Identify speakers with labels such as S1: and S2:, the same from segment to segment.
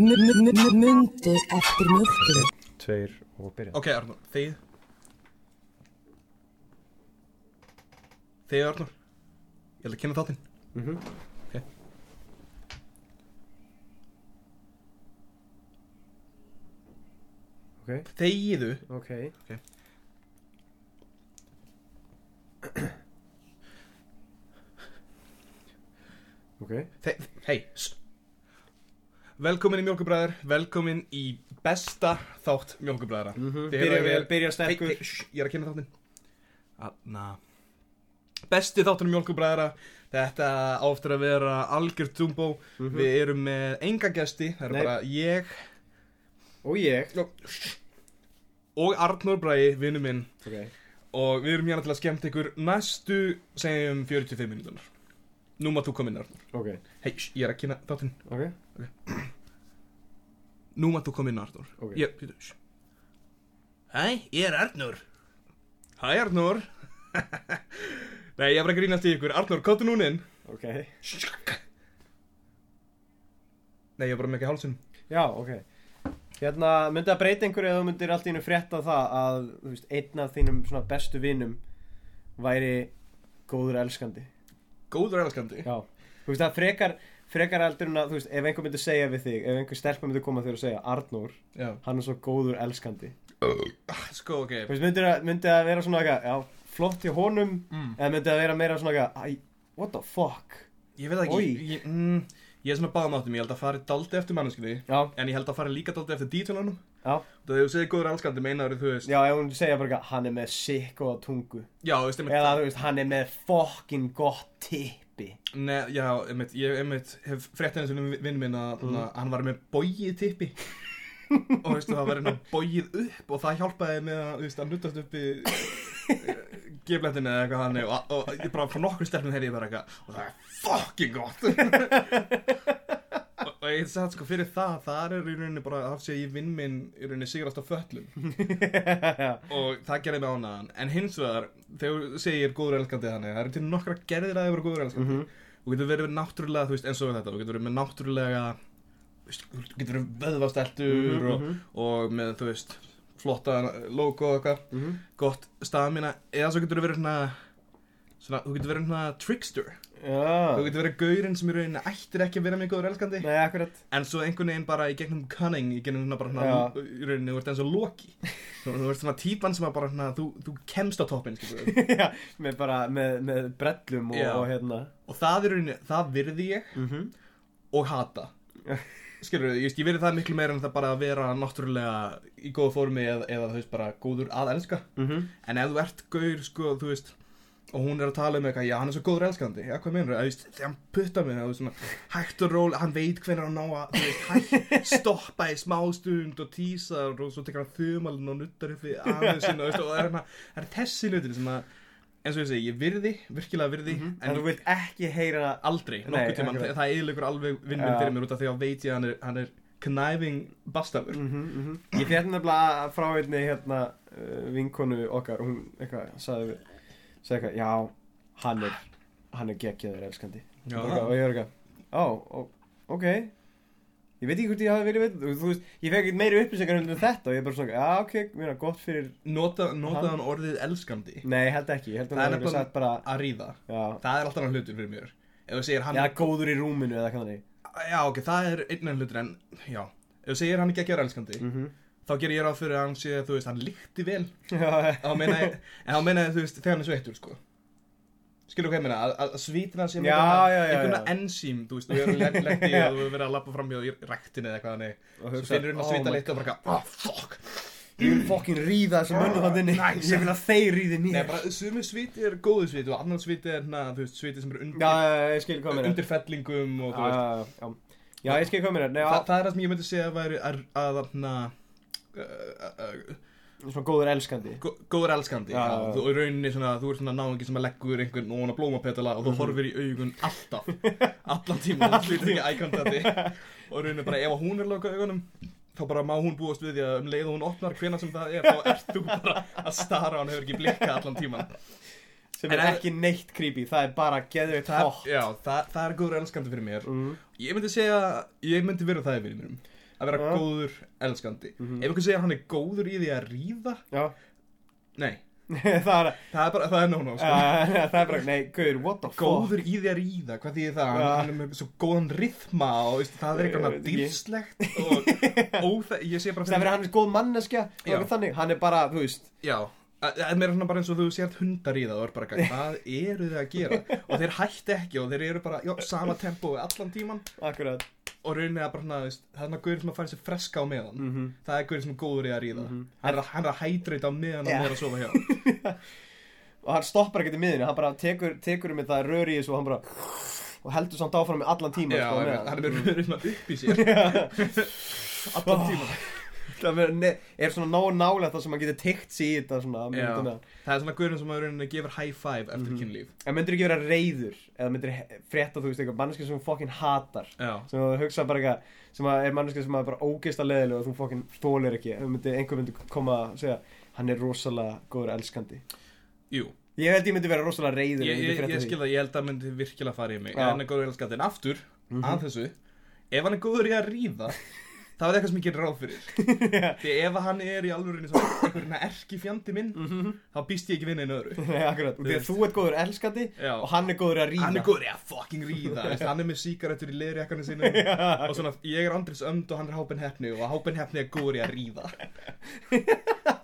S1: Mundu eftir mjölkinu
S2: Tveir og byrja
S3: Ok, Arnur, þið Þið, Arnur Ég ætla að kynna þáttinn Ok
S2: Ok,
S3: Þegiðu
S2: ok Ok,
S3: Þe Hei s- Velkomin í Mjölkubræður Velkomin í besta þátt Mjölkubræðara mm -hmm.
S2: Mhm. Byrja vel, byrja sterkur.
S3: hey, hey, shh, Ég er að kynna þáttinn Anna Besti þáttunum Mjölkubræðara Þetta áftur að vera algjört Zumbo Við erum með enga gesti Það er
S2: Mhm. Nei.
S3: bara ég
S2: og ég
S3: og Arnur Bræði, vinnu minn
S2: Ok,
S3: og við erum hérna til að skemmta ykkur næstu, segjum 45 minútunar Nú maður þú koma inn Arnur
S2: ok,
S3: Hei, sh, ég er að kynna þáttinn
S2: ok
S3: Nú maður þú koma inn Arnur
S2: Ok.
S3: ég, bíddu, sh. Hæ, ég er Arnur Hæ Arnur Nei, ég er bara að grínast í ykkur Arnur, kóttu núna inn
S2: Ok,
S3: Nei, ég er bara með ekki hálsinn
S2: já, ok Hérna, myndi að breyta einhverju eða þú myndir allt í hennu frétta það að, þú veist, einn af þínum svona bestu vinum væri góður elskandi
S3: Góður elskandi
S2: Já, þú veist það frekar frekar heldur en að, þú veist, ef einhver myndi segja við þig ef einhver stelpa myndi koma þér og segja Arnór,
S3: Já.
S2: hann er svo góður elskandi
S3: Sko, ok
S2: þú veist, myndi það, myndi það vera svona eitthvað, já, flott í honum eða myndi það vera meira svona eitthvað, æ, what the fuck
S3: Ég veit það ekki
S2: Oj.
S3: ég, ég, mm, ég er svona báðum áttum, ég held að fari daldi eftir manneskinni
S2: Já.
S3: En ég held að fari líka daldi eftir dítunanum
S2: já,
S3: Það hefur segið góður elskandi meinaður þú veist
S2: já, ef hún segja bara eitthvað, hann er með sikk og tungu
S3: Já, þú veist, einmitt,
S2: eða þú veist, hann er með fokkin gott tippi
S3: ne, já, einmitt, ég einmitt hef frétt henni sem vinn minn að mm. hann var með bógið tippi og veistu, það var einhvern bógið upp og það hjálpaði með að, þú veist, að nuttast upp í geflættinu eða eitthvað þannig og, og ég bara frá nokkur stelpum þeirri ég bara eitthvað og það er fucking gott og, og ég hef sagt sko fyrir það þar er í rauninni bara að sé ég vinn minn í rauninni sigrast á föllum og það gerði mig ánæðan en hins vegar, þegar þú segir góður elskandi þannig, það eru til nokkra gerðir að það eru góður elskandi mm og getur verið náttúrulega þú veist, eins og þetta, þú getur verið með náttúrulega þú veist, þú getur verið vöðvasteltur
S2: Mhm,
S3: og, og með þú veist flotta logo og eitthvað gott stamina, eða svo getur verið svona, svona, þú getur verið svona trickster, þú
S2: já,
S3: getur verið gaurinn sem í rauninni ættir ekki að vera með góður elskandi
S2: Ah. nei, akkurat
S3: en svo einhvern veginn bara í gegnum cunning í gegnum svona bara
S2: Já.
S3: svona í rauninni þú ert eins og loki þú þú ert svona típan sem að bara svona þú, þú kemst á toppin skilur við.
S2: já, með bara, með, með brellum og,
S3: Já.
S2: og hérna
S3: og það er í rauninni það virði ég
S2: Mhm.
S3: og hata skilur við, ég, veist, ég virði það miklu meira en það bara að vera náttúrulega í góðu formi eða, eða þú veist bara góður að elska
S2: Mhm.
S3: en ef þú ert gaur sko þú veist og hún er að tala um eitthvað, já hann er svo góður elskandi já hvað meinur, þegar hann putta mig þú veist, svona, hægt og ról, hann veit hvernig hann á að þú veist, hægt, stoppa í smástund og tísar og svo tekur hann þumalinn og nuttar upp við aðeins sinna þú veist, og það er, hérna- það er þessi hlutin sem að eins og ég segi, ég virði, virkilega virði
S2: Mhm. en þú
S3: en
S2: vilt ekki heyra
S3: aldrei, nokkuð tíma
S2: akkurat.
S3: það, það eðilegur alveg vinnum
S2: Já.
S3: fyrir mér út af því að veit ég að hann er, hann er knæfing bastafur
S2: Mm. Mhm, Ég fekk nefnilega frá einni hérna uh, vinkonu okkar, hún eitthvað sagði við, sagði eitthvað, já hann er, hann er geggjaður elskandi
S3: Já.
S2: og eitthvað- og ég er eitthvað, á, ó, ok ég veit ekki hvort ég hafi verið veit, þú, þú veist, ég fekk eitthvað meiri upplýsingar um þetta og ég er bara svona, já ok, mér er gott fyrir
S3: nota, nota hann orðið elskandi
S2: nei, ég held ekki, ég held að
S3: Það
S2: hann
S3: er
S2: hefur
S3: nefnilega-
S2: sagt bara
S3: að ríða
S2: já,
S3: það er alltaf hann hlutur fyrir mér ef þú segir hann
S2: já, góður í rúminu eða eitthvað þannig
S3: Já, ok, það er einan hlutur en, já, ef þú segir hann ekki að gera elskandi,
S2: Mm.
S3: þá gerir ég ráð fyrir að hann sé, þú veist, hann líkti vel,
S2: já,
S3: þá meina ég, en þá meina ég, þú veist, þegar hann er sveittur, sko. Skilur hvað ég meina, að- að svítina sem
S2: Já, já, já,
S3: einhverna
S2: já.
S3: ensím, þú veist, þú hefur lent lent í að þú hefur verið að lappa fram hjá í ræktinni eða eitthvað þannig,
S2: Og
S3: svo
S2: hugsa,
S3: finnur hann að
S2: oh
S3: svita
S2: my
S3: litt og bara, eitthvað, oh, fuck,
S2: ég vil fokkin ríða þessu mönnu hann inni
S3: Nice.
S2: ég vil að þeir ríði mér
S3: nei, bara, sumi sviti er góðu sviti hérna, og annar sviti er, na, þú veist, sviti sem er undir,
S2: já, já, já, ég skil hvað mér
S3: undir fellingum og, þú veist,
S2: já, já, já. Já, ég skil hvað mér er, nei,
S3: Þa,
S2: á-
S3: það er það sem ég myndi segja að væri að, að, þarna, uh, uh,
S2: svona góður elskandi
S3: gó- góður elskandi
S2: Já,
S3: já,
S2: já, já.
S3: þú, og í rauninni svona, þú ert svona náungi sem að leggur einhvern og hana blómapetala
S2: Mhm.
S3: og þú horfir í augun alltaf allan tíma, þú slítur ekki ækantandi og í rauninni bara ef að hún er loka augunum þá bara má hún búast við því að um leið og hún opnar hvena sem það er, þá ert þú bara að stara á hann hefur ekki blikka allan tíman
S2: sem er
S3: En-
S2: ekki neitt creepy, það er bara geðveikt
S3: það,
S2: hot
S3: já, það, það er góður elskandi fyrir mér
S2: mm.
S3: ég myndi segja, ég myndi vera það í fyrir mér að vera
S2: Já.
S3: góður elskandi
S2: Mhm.
S3: ef einhver segja að hann er góður í því að ríða
S2: Já,
S3: nei,
S2: það er,
S3: það er bara, það er nóna
S2: uh,
S3: sko.
S2: það er bara, nei, guður, what the fuck
S3: góður í því að ríða, hvað því það
S2: Já.
S3: hann er með svo góðan rithma og veist, það er
S2: Ég
S3: eitthvað
S2: veit ekki.
S3: dýrslegt og óþæg, ég sé bara
S2: Það verður hann er góð manneskja, og
S3: Já.
S2: eitthvað þannig, hann er bara, þú veist
S3: já, það er meira svona bara eins og þú sért hundar í það og er bara eitthvað, hvað eru þið að gera og þeir hætti ekki og þeir eru bara já, sama tempó allan tíman
S2: Akkurat
S3: og raunin er bara svona, veist, það er svona guður sem að fara sér freska á meðan
S2: Mhm.
S3: það er guður sem er góður í að ríða hann, er, að- hann er að hætreita á meðan
S2: Já.
S3: hann er að sofa hjá
S2: Og hann stoppar ekkert í miðinu, hann bara tekur, tekur með það rör í þessu og hann bara Og heldur samt áfram með allan tíma
S3: já,
S2: sko, á meðan.
S3: hann er með raunin að upp í sér allan tíman
S2: Það verður- nei, er svona nógu nálega það sem hann getur teikt sig í þetta svona
S3: Já.
S2: myndina.
S3: það er svona guðurinn sem að rauninni gefur high five eftir kynlíf
S2: En myndir ekki vera reyður eða myndir frétta þú veist eitthvað mannskið sem hún fokkin hatar
S3: já,
S2: sem þú hugsa bara eitthvað sem að er mannskið sem að er bara ógeist að leðilega og þú fokkin þólir ekki Ef þú myndir, einhver myndir koma að segja hann er rosalega góður elskandi
S3: jú
S2: Ég held ég myndi vera rosalega reyður
S3: ég,
S2: ef
S3: ég,
S2: myndi
S3: ég
S2: frétta
S3: skil
S2: því.
S3: það, ég held að myndi virkilega fara í mig
S2: Já. Mhm.
S3: ef hann er góður í elskandi, en aftur að þessu, ef hann er góður í að ríða það var eitthvað sem ég gerir ráð fyrir því ef hann er í alvörinni svo einhverjum erki fjandi minn
S2: Mhm.
S3: þá býst ég ekki við neina öðru
S2: Nei, akkurat,
S3: Þú
S2: því að
S3: veist.
S2: þú ert góður elskandi
S3: Já.
S2: og hann er góður að ríða
S3: hann er góður í að fucking ríða veist, hann er með síkaretur í leirjakkanum sínum og svona, ég er Andris ömd og hann er hápin hefni og hápin hefni er góður í að ríða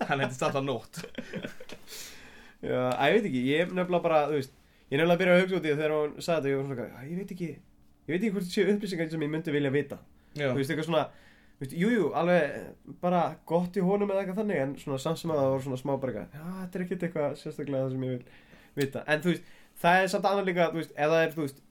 S3: hann hefði alltaf nótt
S2: Já, að ég veit ekki, ég er nefnilega bara, þú veist Ég er nefnilega að byrja að hugsa út í það þegar hún sagði þetta Ég var svona, eitthvað, ég veit ekki, ég veit ekki hvort það séu upplýsingar sem ég myndi vilja vita
S3: Já.
S2: Þú veist, eitthvað svona, þú veist, jú, jú, alveg bara gott í honum eða eitthvað þannig En svona samt sem að það var svona smá bara eitthvað Já, þetta er ekkert eitthvað sérstaklega það sem ég vil vita En þú veist, það er samt annað líka, þú veist, ef það er, þú veist,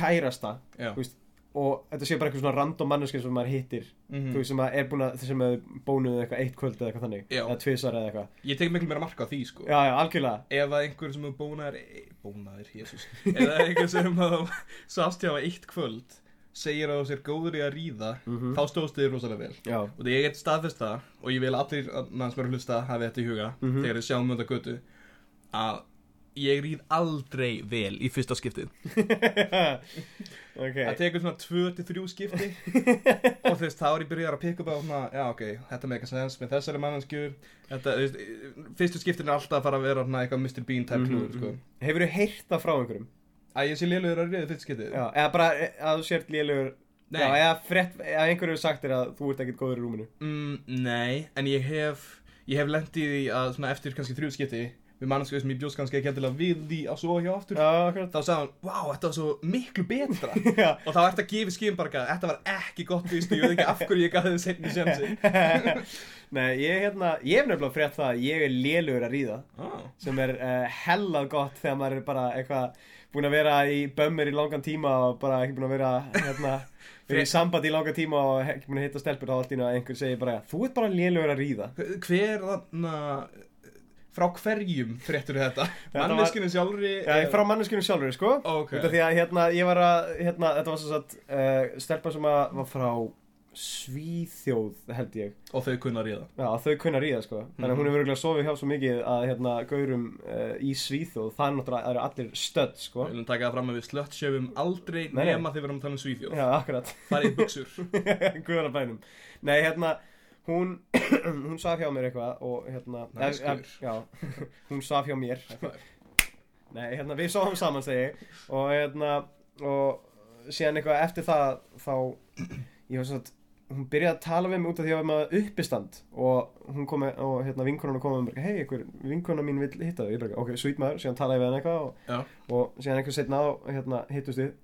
S2: kærasta
S3: Já.
S2: þú veist, Og þetta sé bara eitthvað svona random manneski sem maður hittir
S3: Mhm.
S2: Þú veist, sem að er búin að, sem að bónuðu eitthvað eitt kvöld eða eitthvað þannig
S3: Já.
S2: Eða tvisar eða eitthvað
S3: ég tek miklu meira marka á því sko
S2: Já, já, algjörlega
S3: ef að einhver sem er bónaðir bónaðir, jésus ef að einhver sem að sást hjá eitt kvöld segir að þú sér góður í að ríða
S2: Mhm.
S3: þá stóðst þið rosalega vel
S2: Já,
S3: og þegar ég get staðfest það og ég vil að allir mann sem eru að hlusta hafi þetta í huga þegar þið sjáum þetta götu að ég ríð aldrei vel í fyrsta skiptið
S2: ok
S3: það tekur svona 2-3 skipti og þú veist, þá er ég byrjar að pikka upp á svona, já ok, þetta með eitthvað sens með þessari mannansku þetta, þú veist, fyrstu skiptin er alltaf að fara að vera svona eitthvað Mr. Bean type klúður, sko
S2: Hefur þú heyrt það frá einhverjum?
S3: að ég sé lélugur að reyða fyrst getið
S2: Já, eða bara e- að þú sért lélugur
S3: Nei.
S2: Já, eða frett, eða einhverju sagt þér að þú ert ekkert góður í rúminu
S3: mm, nei, en ég hef ég hef lent í því að svona eftir kannski þrjú skipti við mannsku sem ég bjóst kannski ekki endilega við því að svo hjá aftur
S2: Já, akkurat
S3: þá sagði hann, wow, þetta var svo miklu betra
S2: Já.
S3: og þá ert að gefa skimbarga þetta var ekki gott fyrst og ég veit ekki af hverju ég gaf þeim setni sjensi
S2: Nei, ég hérna, ég hef nefnilega frett það að ég er lélugur að ríða
S3: oh.
S2: sem er uh, hellað gott þegar maður er bara eitthvað búin að vera í bömmir í langan tíma og bara ekki búin að vera hérna, vera í sambandi í langan tíma og ekki búin að hitta stelpur þá allt í einu að einhver segir bara þú ert bara lélugur að ríða
S3: hver þarna frá hverjum fréttur þetta
S2: var-
S3: manneskinu sjálfri
S2: Já, ég Eh, frá manneskinu sjálfur, sko
S3: Ok.
S2: Út af því að hérna, ég var að, hérna, þetta var svo satt uh, Stelpa sem að var frá Svíþjóð, held ég
S3: og þau kunna að ríða
S2: Já, þau kunna ríða, sko Þannig að hún hefur örgulega sofið hjá svo mikið að, hérna, gaurum uh, í Svíþjóð Það er náttúrulega, það eru allir stödd, sko
S3: við viljum taka það fram að við slöttsjöfum aldrei
S2: Nei, nei.
S3: nema þegar við erum að tala um Svíþjóð
S2: Já, akkurat
S3: farið í buksur
S2: Guðan að bænum Nei, hérna, hún, hún saf hjá mér eitthvað og, hérna
S3: Nice,
S2: eh, eh,
S3: gaur.
S2: Já, hún saf hjá mér Nei, hérna, við sáum saman segi ég. og hérna og síðan eitthvað eftir það þá ég var svona hún byrjaði að tala við mig út af því að ég var með uppistand og hún kom með, og hérna vinkonuna kom með mér, hei, einhver, vinkona mín vil hitta þau, ég bara, ok, sweet maður, síðan talaði ég við hann eitthvað og,
S3: Já.
S2: og síðan einhver setna á, hérna, hittust við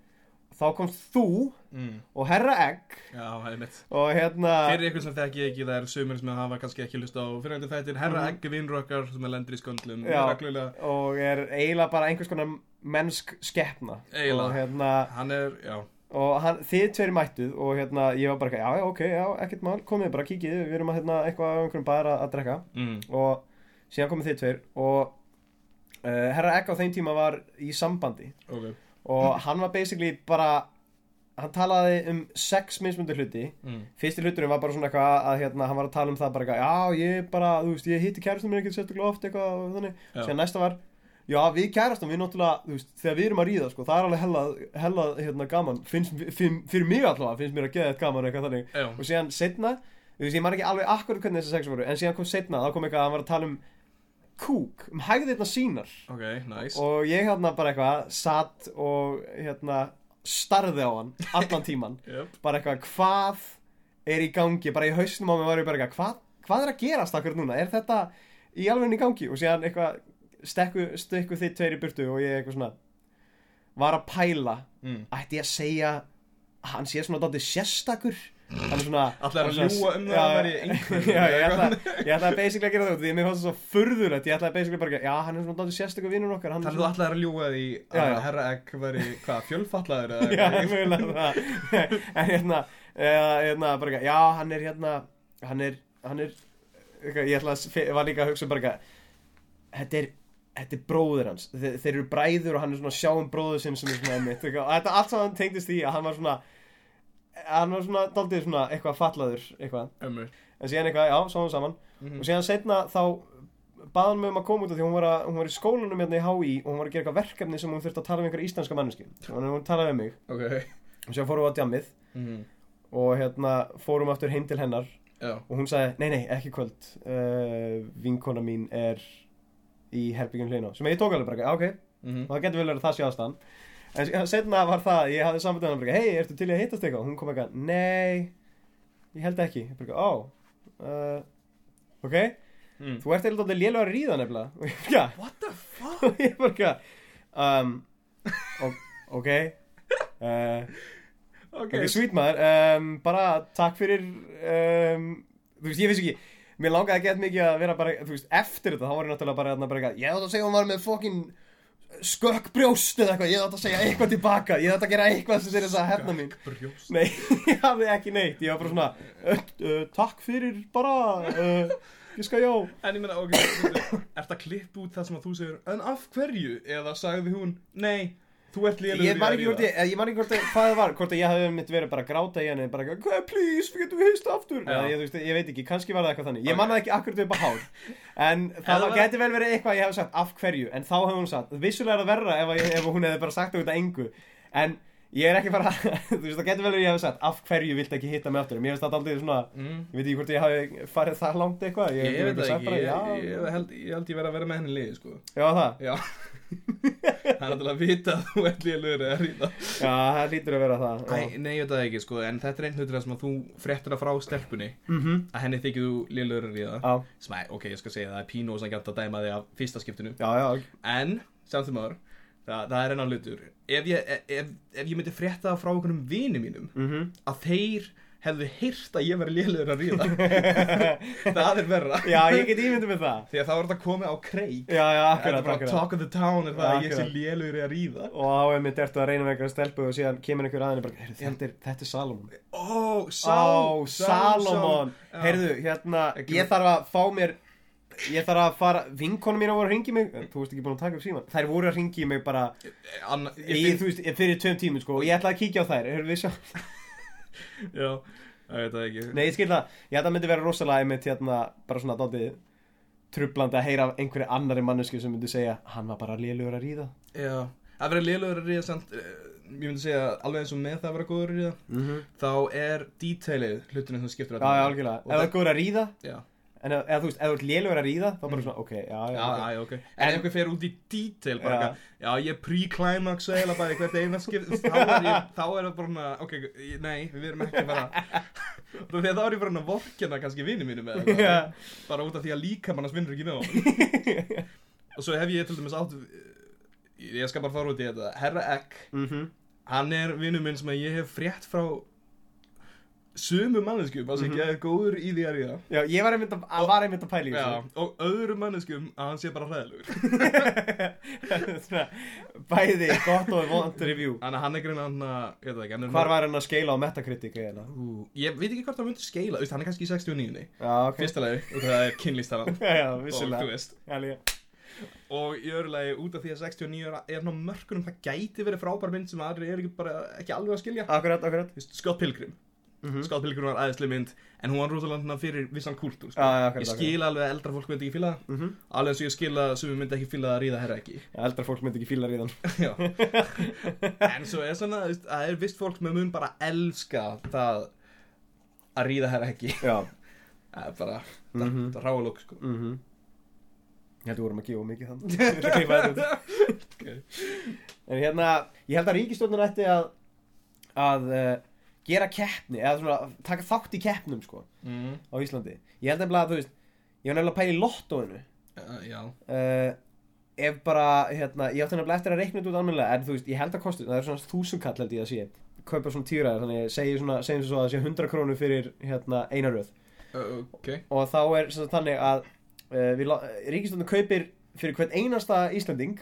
S2: þá komst þú
S3: Mm.
S2: og herra egg
S3: Já, það er mitt.
S2: og hérna
S3: Fyrir ykkur sem þekki ekki, það eru sömur sem hafa kannski ekki hlust á fyrirhæntu þættir, herra
S2: Mhm.
S3: ekki vinnur okkar sem er lendur í sköndlum,
S2: Já.
S3: reglulega.
S2: og er eiginlega bara einhvers konar mennsk skeppna
S3: Eiginlega.
S2: og hérna
S3: Hann er, já,
S2: og hann, þið tveir mættuð og hérna ég var bara eitthvað, já, já, ok, já, ekkert mál komið bara, kikið, við erum að hérna eitthvað á einhverjum bara að drekka
S3: mm.
S2: og síðan komið þið tveir og uh, herra Egg á þeim tíma var í sambandi
S3: ok
S2: og hann var basically bara hann talaði um sex mismundu hluti
S3: mm.
S2: fyrsti hluturinn var bara svona eitthvað að hérna, hann var að tala um það bara eitthvað, já ég bara, þú veist, ég hitti kærastum mér ekkert sérstaklega oft eitthvað og þannig,
S3: Já.
S2: síðan næsta var já við kærastum, við náttúrulega, þú veist, þegar við erum að ríða sko, það er alveg hella, hella hérna, gaman, finnst, fyrir, fyrir mig allavega finnst mér að geða þetta gaman eitthvað þannig
S3: Já.
S2: og síðan setna, þú veist, ég man ekki alveg akkur hvernig þessi sex voru, en síðan kom setna, þá kom eitthvað að hann var að tala um kúk, um hægðirna sínar
S3: ok, nice
S2: og ég hérna bara eitthvað satt og hérna starði á hann allan tíman
S3: Jöp.
S2: bara eitthvað hvað er í gangi bara í hausnum á mig var ég bara eitthvað hvað, hvað er að gerast akkur núna, er þetta í alveg í gangi og síðan eitthvað stekku, stekku þið tveir í burtu og ég eitthvað svona var að pæla
S3: Mm.
S2: ætti ég að segja hann sé svona dátir sérstakur hann er svona
S3: Ætlaðir að
S2: hann er svona-
S3: ljúga um það
S2: Já,
S3: að vera í einhverju?
S2: já, ég ætlaði ég ætlaði basically að gera það út af því að mér fannst það svo furðulegt ég ætlaði basically bara að já hann er svona dátir sérstakur vinnur okkar hann er
S3: Þannig þú ætlaðir að ljúga því
S2: Já,
S3: að
S2: já.
S3: herra egg veri, hvað, fjölfallaður eða
S2: Já,
S3: eitthvað?
S2: mögulega það En hérna, eða, hérna bara, eitthvað, Já, hann er hérna Hann er, hann er eitthvað, Ég ætla að, fe- var líka að hugsa um bara eitthvað, Þetta er, þetta er bróður hans Þe, Þeir eru bræður og hann er svona að sjá um bróður sinn sem er svona mitt eitthvað. Og Þetta allt saman tengdist því að hann var svona Hann var svona, daldið svona eitthvað fallaður eitthvað.
S3: Ömmur.
S2: En síðan eitthvað, já, sáum saman
S3: Mhm.
S2: Og síðan setna þá bað hann mig um að koma út af því hún var, að, hún var í skólanum hérna í HÍ og hún var að gera eitthvað verkefni sem hún þurfti að tala við einhverja íslenska manneski og hún talaði við mig
S3: Ok.
S2: og sér fórum við á djammið
S3: Mm.
S2: og hérna fórum aftur heim til hennar
S3: Já.
S2: og hún sagði, nei, nei, ekki í kvöld uh, vinkona mín er í herbyggjum hleina sem ég tók alveg bara, "Já, ok,
S3: Mm.
S2: og það getur vel verið að það sé aðstæðan en setna var það, að ég hafði sambandið hann bara, hei, ertu til í að hittast eitthvað? og hún kom eitthvað, nei, ég held ekki ég bara, ó, uh, ok
S3: Mm.
S2: þú ert eitthvað lélugar að ríða nefnilega og ég bara, "Já."
S3: What the fuck?
S2: og ég bara eitthvað, um, o- ok uh,
S3: Ok.
S2: Ekki sweet maður, um, bara takk fyrir, um, þú veist, ég finnst ekki, mér langaði að geta mikið að vera bara, þú veist, eftir þetta, þá var ég náttúrulega bara, þarna bara eitthvað, ég þátt að segja hún var með fokkin skökk brjóst eða eitthvað, ég þátt að segja eitthvað tilbaka, ég þátt að gera eitthvað sem segir þess að hefna hérna mín.
S3: Brjóst.
S2: Nei, ég hafði ekki neitt, ég var bara svona, uh, uh, takk fyrir bara, uh, ég skal já.
S3: En ég meina, ok, er þetta klipp út það sem að þú segir, en af hverju? Eða sagði hún, nei, þú ert lélugur
S2: Ég man ekki hvort ég, ég man ekki hvort ég, hvað það var, hvort að ég hafði mitt verið bara að gráta í henni, bara eitthvað, "Hvað, please, við getum heist aftur,
S3: Já.
S2: eða ég, þú veist, ég veit ekki, kannski var það eitthvað þannig, ég
S3: Ok.
S2: man það ekki akkurat upp á hár, en það
S3: það
S2: var...
S3: var-
S2: geti vel verið eitthvað að ég hef sagt af hverju, en þá hefði hún sagt, vissulega er það verra ef, að ég, ef hún hefði bara sagt þetta engu, en ég er ekki bara, þú veist, það geti vel verið að ég hef sagt, af hverju viltu ekki hitta mig aftur, mér finnst það aldrei svona,
S3: Mm.
S2: ég veit ekki hvort ég hafi farið það langt eitthvað,
S3: Ég
S2: hef
S3: veit það
S2: bara sagt
S3: ekki, ég,
S2: bara,
S3: ég, ég, held, ég held ég verið að vera með henni í liði, sko.
S2: já, já, það,
S3: Já. það er alltaf að vita að þú ert lélugur eða ríða.
S2: já, það lítur að vera það, já.
S3: Æ, nei, ég veit það ekki, sko, en þetta er einn hlutur það sem að þú fréttir að frá stelpunni,
S2: Mhm.
S3: að henni þykir þú lélugur að ríða.
S2: Já,
S3: Sem að, ok, ég skal segja, það er pínu og sannkjæmt að dæma þig af fyrsta skiptinu.
S2: já, já,
S3: En, samt sem áður, það, það er enn á hlutur. Ef ég, ef, ef ég myndi frétta það frá okkur um vini mínum,
S2: mhm.
S3: að þeir hefðu heyrt að ég veri lélugur að ríða. það er verra.
S2: Já, ég get ímyndið með það
S3: Því að þá er þetta komið á kreik.
S2: Já, já,
S3: Þetta er
S2: akkurat,
S3: bara
S2: akkurat
S3: talk of the town er það að ég sé
S2: Akkurat.
S3: lélugur að ríða.
S2: Og þá er mitt ertu að reyna með einhverja stelpu og síðan kemur einhver aðeins bara, heyrðu, þetta er, þetta er Salomon
S3: Ó, Sá,
S2: Ó, Salomon
S3: Já.
S2: Heyrðu, hérna,
S3: Ekki-
S2: ég þarf að fá mér Ég þarf að fara, vinkonu mín voru að ringi mig En Þú veist ekki búin að taka upp síman Þær voru að ringi mig bara
S3: Anna,
S2: í,
S3: ég finn
S2: Þú veist, fyrir tveim tímum, sko Og ég ætlaði að kíkja á þær, heyrðu, við sjá
S3: Já, ég veit það ekki
S2: Nei, ég skil það, ég ætla að myndi vera rosalega einmitt hérna, bara svona dóttið Trublandi að heyra af einhverju annari mannesku sem myndi segja Hann var bara lélugur að ríða
S3: Já, að vera lélugur að ríða samt eh, Ég myndi segja alveg eins og með það að vera góður að ríða
S2: mm -hmm.
S3: Þá er detailið hlutinu sem skiptir
S2: Já, já, algjörlega,
S3: Og
S2: ef það
S3: það-
S2: er góður að ríða
S3: Já,
S2: En ef, ef þú veist, ef þú ert lélugur að ríða, þá bara svona, ok, já, já,
S3: já,
S2: ok.
S3: já, ok En ef einhver fer út í detail bara
S2: Já.
S3: eitthvað, Já, ég er pre-climax eða bara í hvert eina skipt Þá er ég, þá er það bara svona, Ok, ég- nei, við erum ekki bara Þegar þá er ég bara að vorkjana kannski vini mínu með þetta
S2: Já.
S3: Bara út af því að líka mannas vinnur ekki með honum Og svo hef ég til dæmis átt Ég skal bara fara út í þetta Herra Egg,
S2: Mhm.
S3: hann er vinnu minn sem að ég hef frétt frá sömu manneskjum að segja er góður í því að ríða
S2: Já, ég var einmitt að, að, var einmitt að pæla í
S3: Já,
S2: þessu
S3: og öðrum manneskjum að hann sé bara hræðilegur
S2: Svona, Bæði gott og vond review
S3: Þannig að hann er greina hann að, ég veit það ekki hann er
S2: Hvar var hann að skeila á metakritik eiginlega?
S3: Ú, Ég veit ekki hvort hann myndi skeila, þú veist, hann er kannski í 69
S2: Já, ok
S3: Fyrsta lagi, og það er kynlýstaran
S2: Já, já,
S3: Og þú
S2: vissulega
S3: veist
S2: Já, líka.
S3: Og í öðru lagi, út af því að 69 er- er ná mörkunum Það gæti verið frábær mynd sem aðri er ekki, bara, ekki alveg að skilja
S2: Akkurat, akkurat
S3: Þú veist, Scott Pilgrim
S2: Mhm.
S3: Scott Pilgrim var æðislega mynd En hún var rosalega svona fyrir vissan kúltúr sko.
S2: Ah, Já, já, akkurat,
S3: Ég
S2: akkurat
S3: skil alveg að eldra fólk myndi ekki fíla það
S2: Mhm.
S3: Alveg eins og ég skil að sumi myndi ekki fíla að ríða herra ekki
S2: Já, Eldra fólk myndi ekki fíla ríðan
S3: Já. en svo er svona, þú veist, það er vist fólk með mun bara elska það að ríða hér ekki.
S2: Já
S3: Það er Eh, bara,
S2: Mhm.
S3: það er ráalók, sko.
S2: Mhm Ég held að við vorum að gefa of mikið þannig Ég ætla að klippa þetta út. En hérna, ég held að ríkistjórnir ætti að að uh, gera keppni eða svona taka þátt í keppnum sko
S3: Mm.
S2: á Íslandi Ég held nefnilega að þú veist ég var nefnilega að pæla í lottóinu
S3: Uh, já.
S2: uh, ef bara, hérna, ég átti nefnilega eftir að reikna þetta út almennilega en þú veist, ég held að kosti það er svona þúsundkall held ég að sé kaupa svona týraðar, þannig segjum svona, segjum svo að það sé 100 krónu fyrir hérna einaröð
S3: Uh, ok.
S2: og þá er sem sagt þannig að uh, ríkistöndin kaupir fyrir hvern einasta Íslanding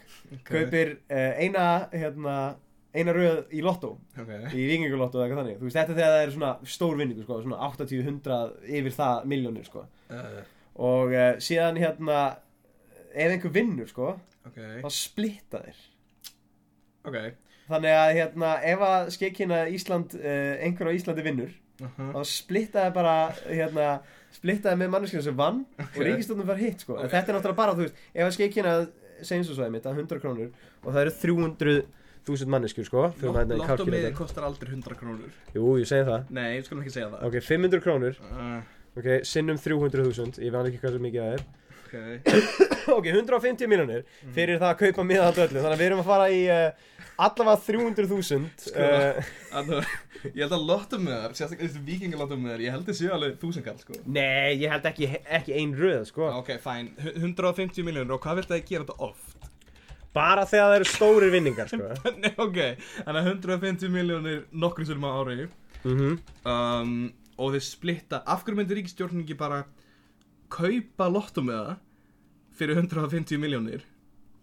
S2: kaupir uh, eina hérna, eina röð í lottó
S3: Ok.
S2: í vikingulottó eða eitthvað þannig þú veist þetta er þegar það er svona stór vinningu sko, svona 80-100 yfir það miljónir sko
S3: Uh,
S2: og uh, síðan hérna ef einhver vinnur sko
S3: ok.
S2: þá splitta þeir
S3: Ok.
S2: þannig að hérna ef að skekina Ísland uh, einhver á Íslandi vinnur
S3: Uh
S2: þá splittaði bara hérna, splittaði með manneskinu sem vann og
S3: Ok.
S2: ríkistöndum var hitt sko
S3: Ok.
S2: okay. þetta er náttúrulega bara, þú veist, ef að skeikina segjum svo svæði mitt að 100 krónur og það eru 300.000 manneskjur sko fyrir maður þetta í
S3: Lottomiði
S2: kalkulator.
S3: kostar aldrei 100 krónur.
S2: Jú, ég segi það
S3: Nei, við skulum ekki segja það.
S2: Ok, 500 krónur,
S3: Uh,
S2: ok, sinnum 300.000 ég veit ekki hvað svo mikið það er
S3: ok.
S2: Ok, 150 miljonir fyrir það að kaupa miða að öllu þannig að við erum að fara í uh, allavega 300.000
S3: Sko.
S2: uh,
S3: Þannig, ég held að lottomiðar, sérstaklega þessi vikingalottomiðar, ég held þessi alveg þúsinkall, sko.
S2: Nei, ég held ekki, ekki ein röð sko
S3: Ok, fæn. 150 miljónur og hvað vilt það gera þetta oft?
S2: bara þegar það eru stórir vinningar sko
S3: Nei, ok, þannig að 150 miljónir nokkrum sem á ári
S2: mm
S3: um, og þeir splitta, af hverju myndir ríkistjórnin ekki bara kaupa lottum með það fyrir 150 miljónir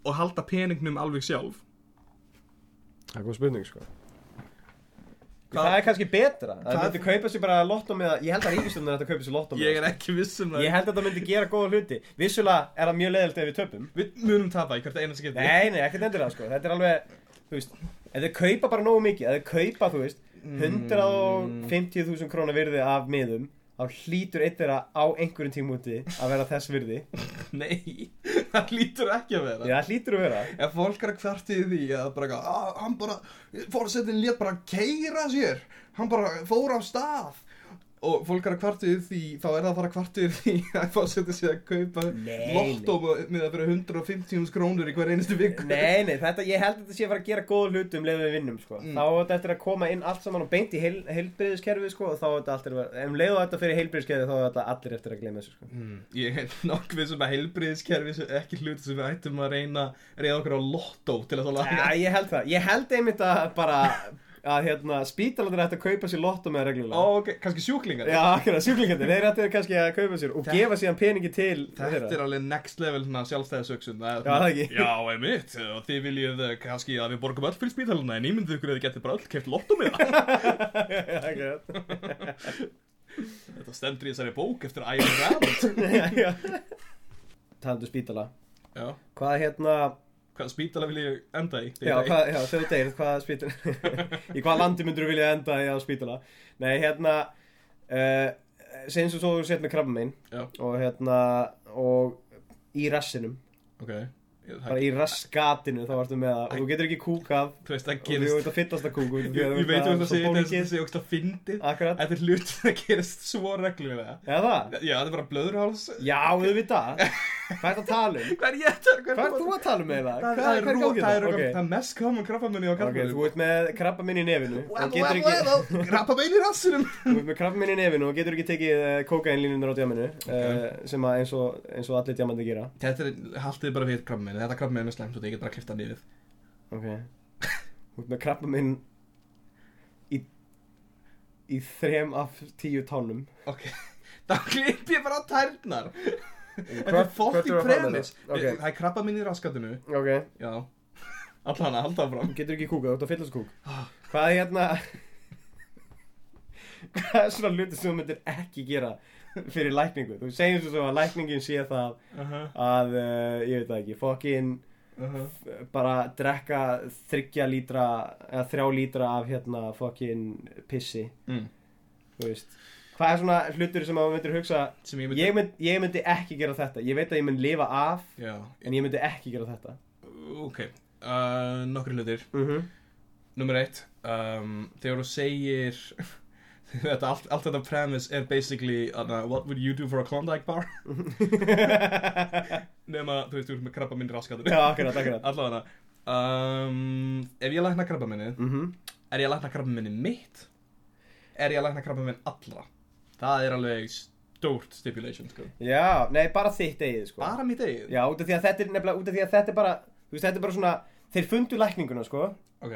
S3: og halda peningnum alveg sjálf
S2: Það er góð spurning sko
S3: Hvað-
S2: Það er kannski betra Það
S3: Hvað-
S2: myndi kaupa sér bara lotto með Ég held að ríkistöndin er að kaupa sér lotto með sko.
S3: Ég er ekki viss um það
S2: Ég held að það myndi gera góða hluti Vissulega er það mjög leiðilt ef við töpum
S3: Við munum tapa í hvert eina skipti
S2: Nei, nei, ekkert endilega sko Þetta er alveg, þú veist Ef þau kaupa bara nógu mikið Ef þau kaupa, þú veist 150.000 krónar virði af miðum Þá hlýtur eitt þeirra á einhverjum tímúti Að vera þess virði
S3: Nei, það lítur ekki að vera
S2: Já, það hlýtur að vera
S3: Ef fólk er að kvartið því að bara eitthvað, að hann bara, fórsetin lét bara keira sér, hann bara fór af stað og fólk er að kvartið því, þá er það bara kvartið því að fórsetin sé að kaupa
S2: Nei,
S3: lottó með að vera 150 krónur í hver einustu viku.
S2: Nei, nei, þetta, ég held að þetta sé að fara að gera góða hluti um leið við vinnum, sko.
S3: Mm.
S2: Þá er þetta eftir að koma inn allt saman og beint í heil, heilbriðiskerfið, sko, og þá er þetta allt eftir að vera, ef um leið og þetta fyrir heilbriðiskerfið, þá er þetta allir eftir að gleyma þessu, sko.
S3: Mm, Ég er nokkvið sem að heilbriðiskerfi sem ekki hluti sem við ættum að reyna reyða okkur á lottó til að það
S2: Já,
S3: laga.
S2: ég held það. Ég held einmitt að bara, að hérna, spítalandir ætti að kaupa sér lottum með reglulega.
S3: Ó, ok, kannski sjúklingar.
S2: Já, akkurat, sjúklingarnir, þeir ætti kannski að kaupa sér og
S3: Þetta-
S2: gefa síðan peningi til
S3: Þetta er alveg next level svona sjálfstæðisöksun
S2: Já, það ekki.
S3: Já, einmitt, og þið viljið eh, kannski að við borgum öll fyrir spítaluna en ímyndið ykkur að þið getið bara öll keft lottum með það
S2: Akkurat.
S3: Þetta stendur í þessari bók eftir Iron Rabbit
S2: Já, já. Talandi um spítala.
S3: Já,
S2: Hvað, hérna,
S3: hvaða spítala vil ég enda í?
S2: Já, hvað, já, þau deyr, hvað spítur Í hvað landi myndur þú vilja enda í að spítala Nei, hérna uh, Seins og svo þú sett með krabba minn
S3: Já,
S2: Og hérna Og í rassinum
S3: ok Ég- það-
S2: Bara í rassgatinu þá varstu með það Og þú getur ekki kúkað
S3: Þú veist, það
S2: Og þú
S3: gerist
S2: ert að fyllast að kúku
S3: Ég ég veit um það segir þetta sem segir ógst að fyndið
S2: Akkurat
S3: Þetta er hlut sem það gerist svo reglulega
S2: Eða það?
S3: Já, þetta er bara blöðurháls
S2: Já, þú veit það Hvað er það að tala um?
S3: Hvað er ég þetta?
S2: Hvað er þú að tala um með það?
S3: Það
S2: Hvað
S3: er
S2: er
S3: ro-
S2: gangið
S3: það er
S2: það?
S3: ro-
S2: Ok,
S3: það mest common krabbamein í okkar
S2: ok, þú ert með krabba minn í nefinu og getur ekki
S3: ekki Krabbamein í rassinum
S2: Þú ert með krabbminni í nefinu og getur ekki tekið uh, kókainlínunar á djáminu uh, sem að eins og, eins og allir djámandi gera
S3: Þetta er, haldið bara við krabbameinu, þetta krabbameinu er slæmt og ég get bara klifta niður.
S2: ok Þú ert með krabbminn í í þrem af tíu tánum
S3: Ok, þá klipp ég bara tærnar Þetta er
S4: hvað- hvað
S3: fólk í
S4: þurfum við að fara með
S3: premis
S2: Ok.
S3: Við- Það er krabba minn í raskatinu
S2: ok,
S3: Já Allan að halda fram
S2: getur ekki kúkað, þú ert að fylla þessu kúk hvað er hérna hvað er svona hluti sem þú myndir ekki gera fyrir lækningu þú segir svo að lækningin sé það
S3: uh -huh,
S2: að, uh, ég veit það ekki, fokkin
S3: uh -huh.
S2: bara drekka þryggja lítra, eða þrjá lítra af hérna fokkin pissi
S3: Mm.
S2: þú veist hvað er svona hlutur sem að maður myndir hugsa
S3: Sem ég myndi
S2: ég, mynd, ég myndi ekki gera þetta ég veit að ég mynd lifa af
S3: Já,
S2: en ég myndi ekki gera þetta
S3: ok uh, Nokkri hlutir
S2: mm -hmm.
S3: Númer eitt um, Þegar þú segir Þetta, allt, allt þetta premise er basically uh, What would you do for a Klondike bar? Nefna, þú veist, þú ert með krabba minn í raskatinu
S2: já, akkurat, akkurat
S3: Allavega um, Ef ég lækna krabba minni
S2: mm
S3: Er ég að lækna krabba minni mitt? Er ég að lækna krabba minn allra? Það er alveg stórt stipulation sko.
S2: já, nei, bara þitt eigið sko.
S3: Bara mitt eigið?
S2: já, út af því að þetta er nefnilega út af því að þetta er bara, þú veist, þetta er bara svona þeir fundu lækninguna, sko
S3: Ok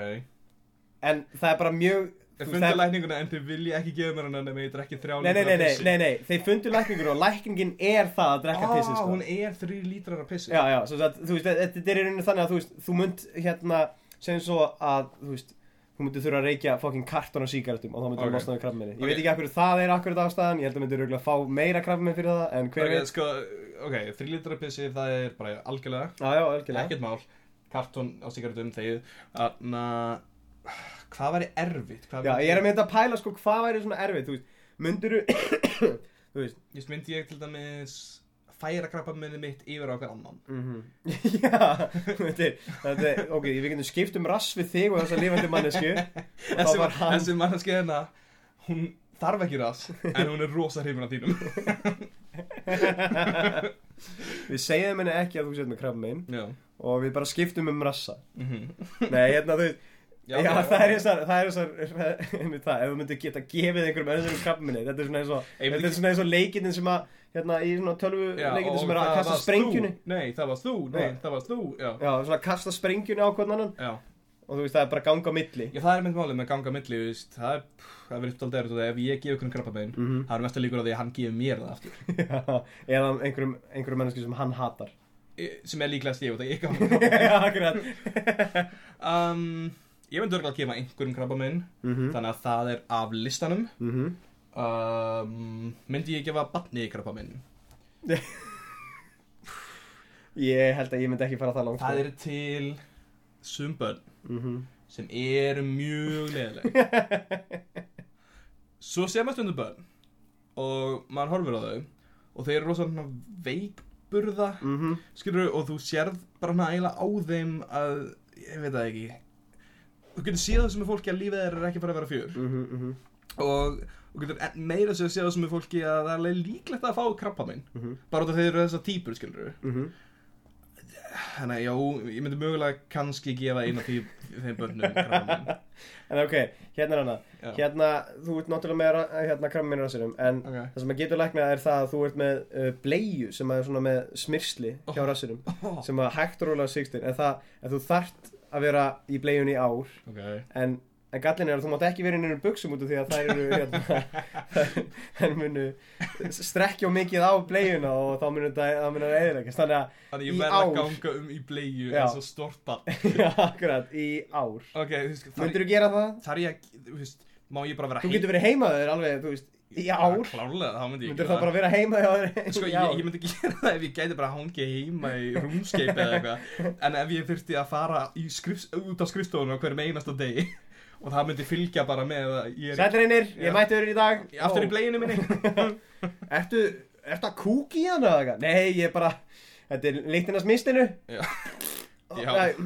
S2: en það er bara mjög þú
S3: Þeir
S2: veist,
S3: fundu
S2: það-
S3: lækninguna en þeir vilja ekki gefa mér hana nema ég drekki þrjá
S2: Nei, nei, nei, nei,
S3: pissi.
S2: nei, nei, þeir fundu lækninguna og lækningin er það að drekka
S3: Ah,
S2: pissi, sko
S3: hún er þrjú lítrar af pissi
S2: Já, já, svo að, þú veist, þetta þetta er í rauninu þannig að þú veist, þú munt hérna, segjum svo að, þú veist, þú myndir þurfa að reykja fokkin kartón og sígarettum og þá myndir þú
S3: Ok.
S2: okay. losna við krabbminni. Ég
S3: Ok.
S2: veit ekki akkur það er akkur ástæðan, ég held að myndir röglega fá meira krabbminn fyrir það, en hver
S3: Ok,
S2: veit?
S3: sko, ok, þrjú lítrar af pissi það er bara algjörlega
S2: Já, já, algjörlega.
S3: Ekkert mál Kartón á sigaretum þegið Þannig að Hvað væri erfitt? Hvað
S2: Já, ég er að mynda að pæla, sko, hvað væri svona erfið, þú veist, myndir þú veist,
S3: Ég myndi ég til dæmis færa krabba minni mitt yfir á okkur annan
S2: já, þetta er, þetta er, ok, við getum skipt um rass við þig og þessa lifandi mannesku, og
S3: þessi,
S2: það var hann,
S3: þessi mannski hérna hún þarf ekki rass en hún er rosa hrifin af þínum
S2: við segjum henni ekki að þú sett með krabbminn
S3: já,
S2: og við bara skiptum um rassa.
S3: mm
S2: Nei, hérna, þú veist, Já,
S3: ok,
S2: það er þessar, það er þessar, einmitt það, ef þú myndir geta gefið einhverjum öðrum krabminni, þetta er svona eins og,
S3: Ég myndi-
S2: þetta er svona eins og leikinn sem að, hérna, í svona tölvu
S3: Já,
S2: leikinn
S3: og
S2: sem er að
S3: það
S2: kasta
S3: varst
S2: sprengjunni.
S3: þú. nei, það varst þú, nei,
S2: Nei.
S3: það varst þú já,
S2: Já, svona kasta sprengjunni á hvern annan
S3: já.
S2: og þú veist, það er bara ganga á milli.
S3: Já, það er mynd málið með að ganga á milli, þú veist, það er, pff, það verður uppdaldið erut og það ef ég gef einhvern krabba bein,
S2: Mhm.
S3: það er mest að líkur á því að hann gefur mér það aftur,
S2: Já, eða einhverjum, einhverjum menneski sem hann hatar.
S3: Í- sem er líklegast ég og það ég gaf hann.
S2: Já, akkurat.
S3: Um, ég myndi örgulega að gefa einhverjum krabba minn,
S2: Mhm,
S3: þannig að það er af listanum.
S2: mhm.
S3: Um, myndi ég gefa batni krabba minn?
S2: Ég held að ég myndi ekki fara það langt. sko.
S3: Það eru til sum börn
S2: Mhm.
S3: sem eru mjög leðileg Svo sé maður stundum börn og maður horfir á þau og þeir eru rosa svona veikburða
S2: Mhm,
S3: skilur og þú sérð bara hana eiginlega á þeim að ég veit það ekki þú getur séð það sem er fólki að lífið þeir er ekki bara að vera fjör
S2: mhm, mhm,
S3: og þú getur enn meira sem að séð það sem er fólki að það er alveg líklegt að fá krabba minn
S2: Mhm.
S3: bara út af þeir eru þessar típur skilur
S2: mhm.
S3: Þannig að já, ég myndi mögulega kannski gefa eina því þeim börnum krabba minn
S2: En ok, hérna er hana
S3: Já.
S2: Hérna, þú ert náttúrulega með ra- hérna, krammin í rassinum En
S3: Ok.
S2: það sem að getur læknað er það að þú ert með uh, bleju Sem að er svona með smyrsli hjá rassinum
S3: Oh.
S2: Sem að hægt og rólega sigstir En það, en þú þart að vera í blejunni í ár
S3: Okay.
S2: En, en gallin er að þú mátt ekki vera inn í einhverjum buksum út af Því að þær eru hérna Þær munu strekkja of mikið á blejuna Og þá munu það, það munu eðilegast Þannig að,
S3: Þannig ég
S2: Í
S3: verð að
S2: ár.
S3: ganga um í bleiu
S2: Já.
S3: eins og stort barn.
S2: akkurat, í ár
S3: Ok, þú veist, þar,
S2: Myndirðu gera það?
S3: þar ég, þú veist, má ég bara vera
S2: Þú getur verið heimaður alveg, þú veist, í ár
S3: Klárlega, þá myndi ég
S2: Myndir þá bara vera heima hjá þér
S3: Sko,
S2: í
S3: ég,
S2: ár?
S3: ég myndi gera það ef ég gæti bara hangi heima í rúmskeip eða eitthvað En ef ég þyrfti að fara í skrifs, út á skrifstofunum á hverjum einasta degi Og það myndi fylgja bara með að ég er
S2: Sælir einir,
S3: Já.
S2: ég mætti verið í dag
S3: í- aftur í
S2: Ó,
S3: bleinu minni
S2: Ertu, ertu að kúk í hana eða eitthvað? Nei, ég bara, þetta er líktinnast mistinu
S3: Já,
S2: Nei,
S3: já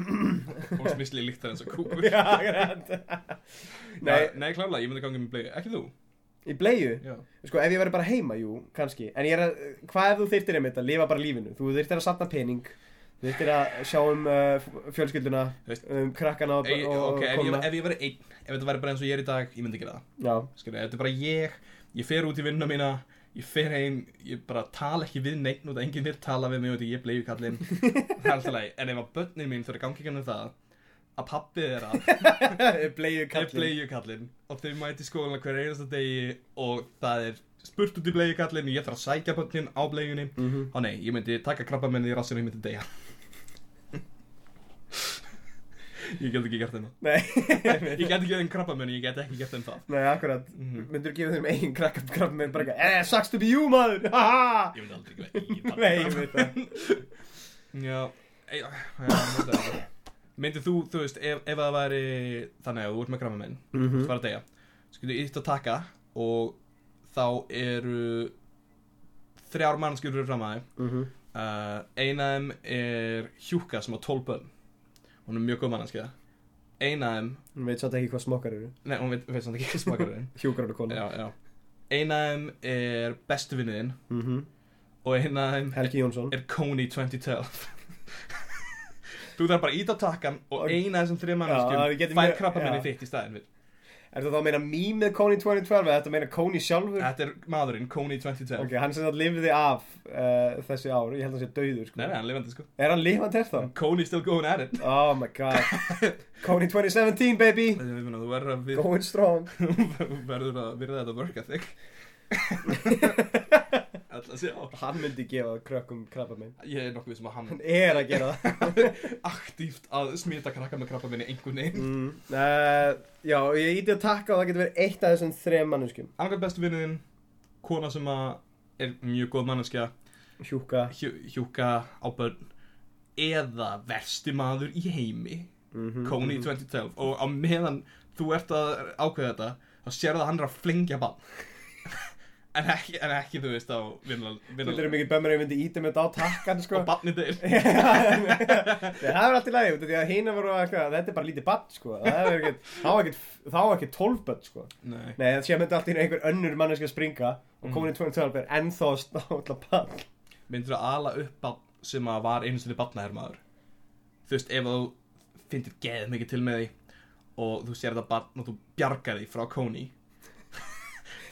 S3: fólks misli líktar eins og kúkur
S2: já, grænt
S3: Nei,
S2: Nei,
S3: nei klárlega, ég myndi ganga um í bleiu, ekki þú?
S2: í bleiðu
S3: Já
S2: Sko, ef ég verið bara heima, jú, kannski En ég er að, hvað ef þú þyrftir einmitt að lifa bara lífinu? Þú þyrftir að sapna pening Þú þyrftir að sjá um uh, fjölskylduna
S3: Veist-
S2: Um krakkana og,
S3: Ei,
S2: og
S3: ok, ef ég,
S2: konuna.
S3: ef ég verið einn, ef þetta verið bara eins og ég er í dag, ég myndi gera það.
S2: Já,
S3: Skilja, þetta er bara ég, ég fer út í vinnuna mína, ég fer heim, ég bara tala ekki við neitt og það enginn vil tala við mig og þetta ég bleiðu kallinn. það er alltaf leið, en ef að börnin mín þurfa að gangi ekki um það, að pappi þeirra
S2: Bleiðu
S3: er
S2: kallin
S3: bleiukallinn og þau mæti skólan hver einasta degi og það er spurt út í bleiukallinn og ég þarf að sækja bönnin á bleiunni mm
S2: Mhm.
S3: og nei, ég myndi taka krabba minni í rassinu og ég myndi deyja ég get ekki gert þeim það
S2: Nei,
S3: ég get ekki gert þeim krabba minni, ég get ekki gert þeim það Mhm.
S2: Nei, akkurat Myndur gefa þeim eigin krakka krabba minn bara eitthvað Eh, sucks to be you, maður Ha, ha.
S3: ég myndi aldrei gera í það
S2: Nei, ég veit það
S3: Já, ei, já, myndi það Myndið þú, þú veist, ef, ef það væri þannig að þú ert með gramma minn mm
S2: Mhm.
S3: -hmm. þú fara að deyja, skilur ítt að taka og þá eru þrjár mannskjur fyrir fram að þig
S2: Mhm.
S3: uh, eina af þeim er Hjúka sem á 12 bönn hún er mjög góð mannskja eina af þeim,
S2: Hún veit svolítið ekki hvað smokkar eru
S3: nei, hún veit, veit samt ekki smakarinn
S2: Hjúgráðu konu
S3: já, já eina af þeim er bestu vinniðinn
S2: Mhm.
S3: og eina af þeim
S2: Helgi Jónsson
S3: er Kony 2012 Þú þarf bara að íta á takkan og
S2: Og-
S3: eina af þessum þrejum
S2: Já, við
S3: manneskjum
S2: getum
S3: fær
S2: mjög-
S3: krabba minni
S2: já.
S3: þitt í staðin við.
S2: Er það þá að meina mýmið Kony 2012 eða þetta meina Kony sjálfur?
S3: Þetta er maðurinn, Kony 2012
S2: Ok, hann sem það lifði af uh, þessi ár, ég held að hann sé döður sko.
S3: Nei, nei, hann er lifandi sko
S2: Er hann lifandi eftir þá?
S3: Kony still going at it
S2: Oh my god Kony 2017 baby
S3: Þetta er, ég meina, Þú verður að, við,
S2: Going strong
S3: þú verður að virða þetta work ethic Alltaf sé á
S2: Hann myndi gefa krökkum krabba minn
S3: Ég er nokkuð við sem að hann
S2: Hann er að gera það
S3: aktíft að smita krakka með krabba minni einhvern veginn mm.
S2: mm, uh, Já, og ég íti að takka og það getur verið eitt af þessum þrem manneskjum
S3: Annarkvæmt bestu vinniðinn, kona sem að er mjög góð manneskja
S2: Hjúka
S3: hjú- hjúka á börn eða versti maður í heimi
S2: Mhm.
S3: Kony 2012 og á meðan þú ert að ákveða þetta þá sérðu að hann er að flengja bann en, ekki, en ekki þú veist á vinnal
S2: Þetta eru mikið bömmur ef ég myndi íti með þetta á takkan sko
S3: og bannið þeir
S2: Já, Nei, það er allt í lagi, út af því að hina voru eitthvað, þetta er bara lítið badd, sko, það er ekkert, þá er ekkert, þá er ekkert tólf börn, sko.
S3: Nei.
S2: Nei, það sé að myndi alltaf einhver önnur manneski að springa
S3: Mm.
S2: og komin í 2012 er ennþá að stála ball.
S3: myndir að ala upp bann sem að var einu sinni bannahermaður þú veist ef þú fyndir geð mikið til með því og þú sér þetta bann og þú bjargar því frá Kony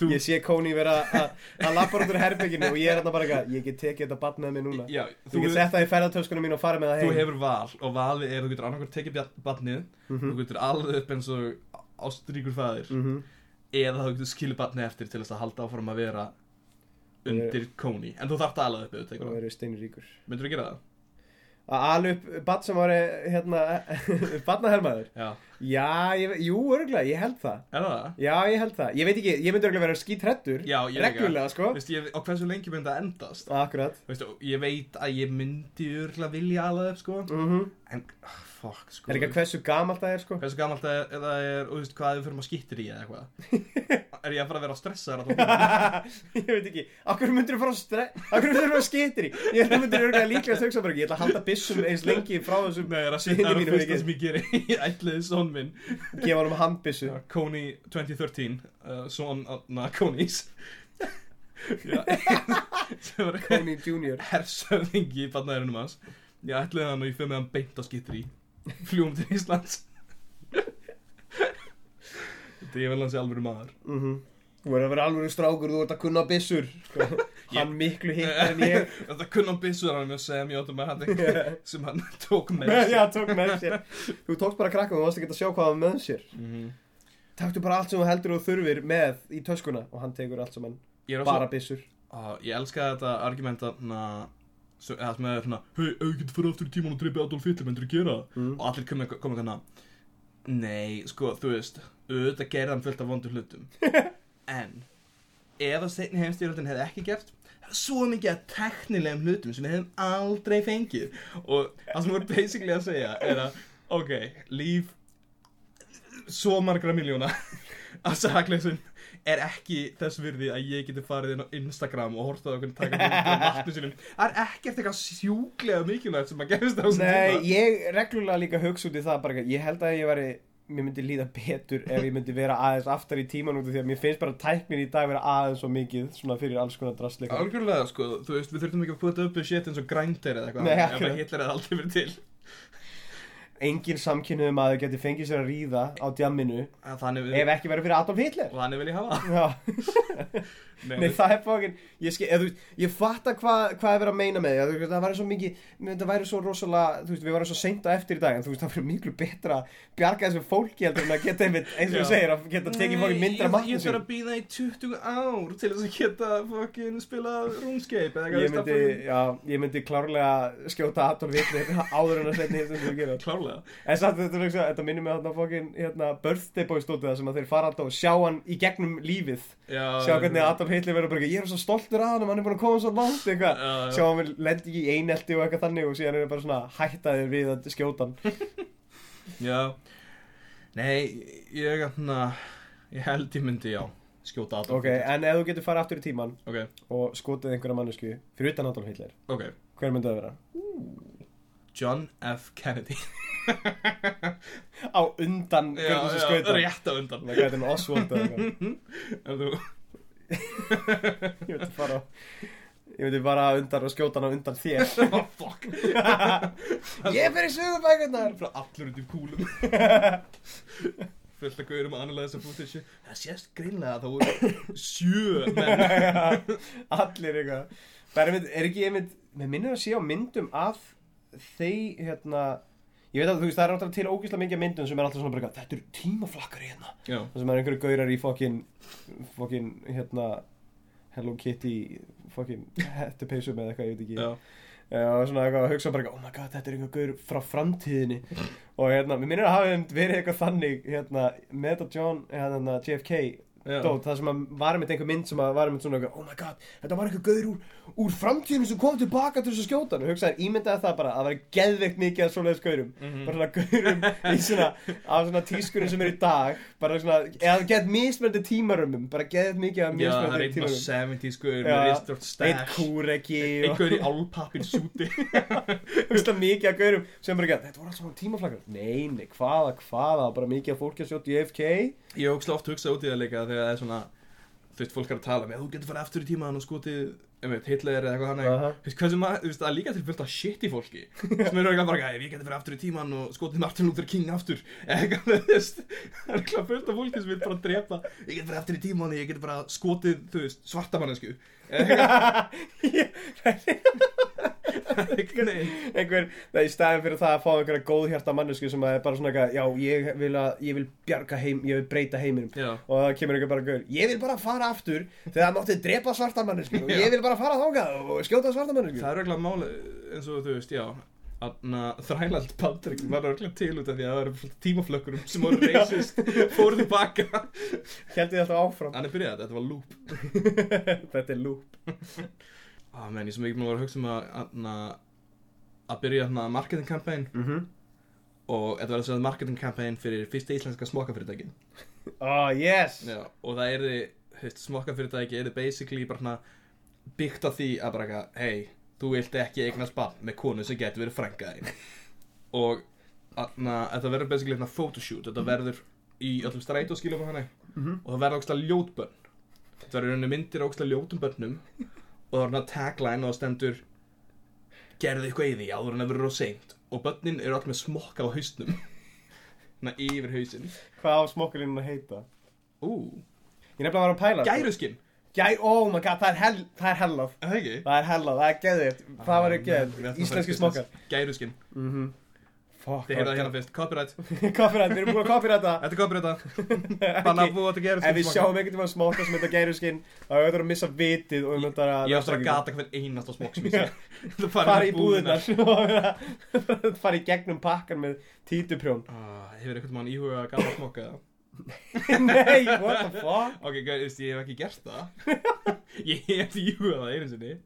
S3: Þú-
S2: Ég sé Kóni vera að að labba út úr herbygginu og ég er þarna bara eitthvað, ég get tekið þetta ball með mig núna.
S3: Já,
S2: Þú get sett það í ferðartöskunum mín og fara með það
S3: þú
S2: heim.
S3: hefur val og valið er að þú getur annarkur tekið barnið þú getur alveg upp eins og ástríkur fæðir
S2: Mhm.
S3: eða þú getur skilið barnið eftir til þess að halda áfram að vera undir kóni en þú þarft að alveg upp ef þú
S2: Og
S3: tekur það
S2: verður steinríkur.
S3: myndur þú gera það?
S2: Að ala upp ball sem var, hérna, barnahermaður.
S3: já
S2: Já, ég, ve- jú, örgulega, ég held það.
S3: er það það?
S2: Já, ég held það. Ég veit ekki, ég myndi örgulega vera skítrættur.
S3: já ég
S2: Reglulega, sko.
S3: Vist, ég, og hversu lengi myndi það endast
S2: Akkurat.
S3: Vist, og ég veit að ég myndi örgulega vilja alveg upp sko
S2: Mm
S3: en oh, fuck sko
S2: Er ekki að hversu gamalt það er, sko?
S3: hversu gamalt það er, það er og þú veist hvað við fyrir maður skittir í eða eitthvað er ég að fara að vera stressaður allan tímann?
S2: ég veit ekki, akkur myndir þú fara að stre... akkur myndir þú fara að skitir í ég held að myndir örgulega líklega að hugsa bara ég ætla að halda byssum eins lengi frá þessum
S3: Nei, það er að
S2: Syni
S3: setja það
S2: mínu
S3: er fyrsta
S2: mikið.
S3: sem ég geri í ætliði són minn
S2: gefa hann um handbyssu
S3: Kony 2013 uh, Són, na, Konys Já sem var
S2: Tony Junior
S3: hersöfðingi í barnaðurinnum hans Ég ætliði hann og ég fyrir með hann beint á skittur í Fljúum til Íslands Þetta ég vil hann sé alveg maður
S2: Mhm. þú verður að vera alveg strákur, þú ert að kunna byssur hann miklu hittar en ég
S3: Þetta kunnan byssuðar hann með Sam Jóttum að hann sem hann tók með
S2: já, tók með sér þú tókst bara krakkum, þú varst ekki að sjá hvað hann með sér
S3: Mhm.
S2: taktu bara allt sem þú heldur og þurfir með í töskuna og hann tekur allt sem hann,
S3: Ég er
S2: bara byssur
S3: Á, ég elska þetta argument að na, sem, eða, sem er svona hei, ef ég getur fyrir aftur í tíman og dreipi Adolf Hitler myndir þú gera það?
S2: Mm.
S3: og allir komið kom hana nei, sko, þú veist auðvitað gerði hann fullt af vondur hlutum en ef að seinni heimstyrjöldin hefði ekki gert það er svo mikið af teknilegum hlutum sem við hefðum aldrei fengið og það sem voru basically að segja er að, ok, líf svo margra miljóna af sakleysum er ekki þess virði að ég geti farið inn á Instagram og hortað okkur taka myndir af vatnum sínum það er ekkert eitthvað sjúklega mikilvægt sem að gerist á þessum
S2: Nei,
S3: tíma.
S2: ég reglulega líka hugsa út í það bara, eitthvað, ég held að ég væri, mér myndi líða betur ef ég myndi vera aðeins aftar í tíman út af því að mér finnst bara tæknin í dag vera aðeins svo mikið svona fyrir alls konar drastleika
S3: Algjörlega sko, þú veist, við þurftum ekki að pota upp við shit eins og grændir eða eitthvað
S2: Nei,
S3: Ef
S2: akkurat.
S3: að Hitler hefði aldrei verið til
S2: engin samkynnuðum að þau geti fengið sér að ríða á djamminu
S3: Að Þannig vil,
S2: ef ekki verið fyrir Adolf Hitler
S3: þannig vil ég hafa
S2: Já,
S3: Nei,
S2: nei það er fókin ég, skil, eða, þú veist, ég fatta hvað hva er verið að meina með því það væri svo mikið, það væri svo rosalega þú veist, við varum svo seint á eftir í dag en þú veist, það væri miklu betra að bjarga þessu fólki heldur en að geta einmitt, eins og
S3: Já.
S2: þú segir að geta tekið fókin myndra matnum
S3: Ég þarf
S2: sín
S3: að býða í 20 ár til þess að geta fucking spila RuneScape eða
S2: ég
S3: veist það
S2: myndi,
S3: fucking-
S2: já, ég myndi klárlega skjóta Adolf Hitler áður en að setja hér sem þú gerir
S3: Klárlega
S2: En samt þetta, er eitthvað- þetta minnir mig þarna fókin hérna, birthday boy stótið það sem að þeir fara alltaf og sjá hann í gegnum lífið
S3: Já,
S2: sjá hvernig Adolf Hitler verður bara eitthvað, ég er svo stoltur að hann hann er búin að koma svo langt eitthvað
S3: Já, já.
S2: sjá hann við lendi ekki í einelti og eitthvað þannig og síðan er það bara svona hættaðir við að skjóta hann
S3: Já Nei, ég, hérna, ég held ég myndi já skjóta Adolf
S2: ok, en ef þú getur farið aftur í tíman
S3: ok,
S2: og skotið einhverja mannesku fyrir utan Adolf Hitler,
S3: ok
S2: hver myndi það vera?
S3: John F. Kennedy
S2: á undan hvernig þú skauta
S3: rétt á undan
S2: það gæti hann Oswald eða eitthvað
S3: En þú,
S2: ég myndi fara ég myndi bara undan og skjóta hann á undan þér
S3: oh, fuck
S2: ég fyrir sögubækurnar
S3: Frá allur út í kúlum Fullt að gauðurum að annarlega þessa footage Það sést greinlega að það voru sjö menn
S2: allir eitthvað Bara einmitt, er ekki einmitt, mér minnir að sé á myndum af þeir hérna ég veit að þú veist það er alltaf til ógeðslega mikið af myndum sem er alltaf svona bara eitthvað, þetta eru tímaflakkar hérna
S3: Já,
S2: það sem er einhverju gaurar í fokkin fokkin hérna Hello Kitty fokkin hettupeysu með eitthvað, ég veit ekki
S3: já,
S2: Já, og svona eitthvað að hugsa bara eitthvað, oh my god, þetta er einhver gaur frá framtíðinni og hérna, mér minnir að hafa einmitt verið eitthvað þannig hérna, með þetta John, hérna, JFK
S3: Já.
S2: dót, það sem að var einmitt einhver mynd sem að var einmitt svona eitthvað, oh my god, þetta var einhver gaur úr, úr framtíðinu sem kom tilbaka til þess að skjóta hann og hugsaði, ímyndaði það bara að það var geðveikt mikið að svoleiðis gaurum
S3: Mhm.
S2: bara svona gaurum í svona af svona tískurum sem er í dag bara svona, eða gett mismöndi tímarumum bara geðveikt mikið af
S3: já það er
S2: mismöndi
S3: einn bara
S2: tímarumum
S3: 70 gauður
S2: Já.
S3: með ristort
S2: Eitt
S3: stash
S2: kúreki og-
S3: Einhver í álpappin súti
S2: Hugsta mikið að gaurum sem bara ekki að þetta voru allt saman tímaflakar. Nei, nei, hvaða, hvaða, bara mikið að fólki að sjóta í FK.
S3: Ég hef ógstlega oft hugsað út í það líka þegar það er svona Þú veist, fólk er að tala með Þú getur farið aftur í tímaðan og skotið einmitt, Hitler eða eitthvað þannig
S2: Aha.
S3: Þú veist, hversu maður, þú veist, það er líka til fullt af shit í fólki sem eru eitthvað bara, eitthvað, ef ég getur farið aftur í tímaðan og skotið Martin Luther King aftur eða eitthvað, þú veist, það er eitthvað fullt af fólki sem vil bara drepa Ég getur farið aftur í tímaðan og ég getur bara skotið, þú veist, svartamannesku Nei,
S2: Einhver, það er í staðin fyrir það að fá einhverja góðhjarta mannesku sem að er bara svona eitthvað, já, ég vil, að, ég vil bjarga heim, ég vil breyta heiminum.
S3: Já.
S2: Og það kemur einhver bara gaur, ég vil bara fara aftur þegar það mátti drepa svarta mannesku og ég vil bara fara þákað og skjóta svarta mannesku.
S3: það er eitthvað máli eins og þú veist, já Anna, þrælald Patrik var örglega til út af því að það eru tímaflökkurum sem voru racist fóru tilbaka
S2: Hjælti þetta áfram.
S3: hann er byrjað þetta, þetta var loop
S2: þetta er loop.
S3: ah, menn, ég sem ekki mér var að hugsa um að anna, að byrja anna, marketing campaign
S2: Mm -hmm.
S3: og þetta var þess að marketing campaign fyrir fyrsta íslenska smokkafyrirtæki
S2: Oh, yes.
S3: já, og það er þið smokkafyrirtæki er þið basically bara hana, byggt af því að bara eitthvað, hei, þú vilt ekki eignast barn með konu sem getur verið frængaðin og anna, þetta verður basically hérna photoshoot þetta verður í öllum strætu og skilum og þannig og það verður ógstlega ljótbönn þetta verður í rauninni myndir af ógstlega ljótum bönnum og það er hérna tagline og það stendur gerðu eitthvað í því áður en það verður á seint og bönnin eru allt með smokka á hausnum hérna yfir hausinn
S2: Hvað á smokkulínun að heita?
S3: ú,
S2: Ég nefnilega var að pæla.
S3: gæruskinn
S2: Gæ, oh my god, það er, hell, það er hellað.
S3: Er það ekki?
S2: Það er hella, það er geðið Það var ekki
S3: Við ætlum
S2: geðið,
S3: að fara
S2: íslenski
S3: í
S2: smokkar
S3: business. Gæruskinn,
S2: Fuck,
S3: þið heyrðu það hérna fyrst, copyright
S2: Copyright, við erum búin að copyrighta
S3: Þetta er copyrighta, banna að
S2: Ekki-
S3: búa til
S2: Ef
S3: gæruskinn
S2: við sjáum einhvern tímann smokka sem þetta gæruskinn þá erum við að missa vitið og við möndar að
S3: Ég áttur að gata hvern einasta smokk sem ég sé Það
S2: fara í búðinnar og fara í gegnum pakkan með títuprjón
S3: Ah, Hefur einhvern mann íhuga að gata smokka það?
S2: Nei, what the fuck
S3: Ok, gæ- þú veist, ég hef ekki gert það Ég hef íhugað það einu sinni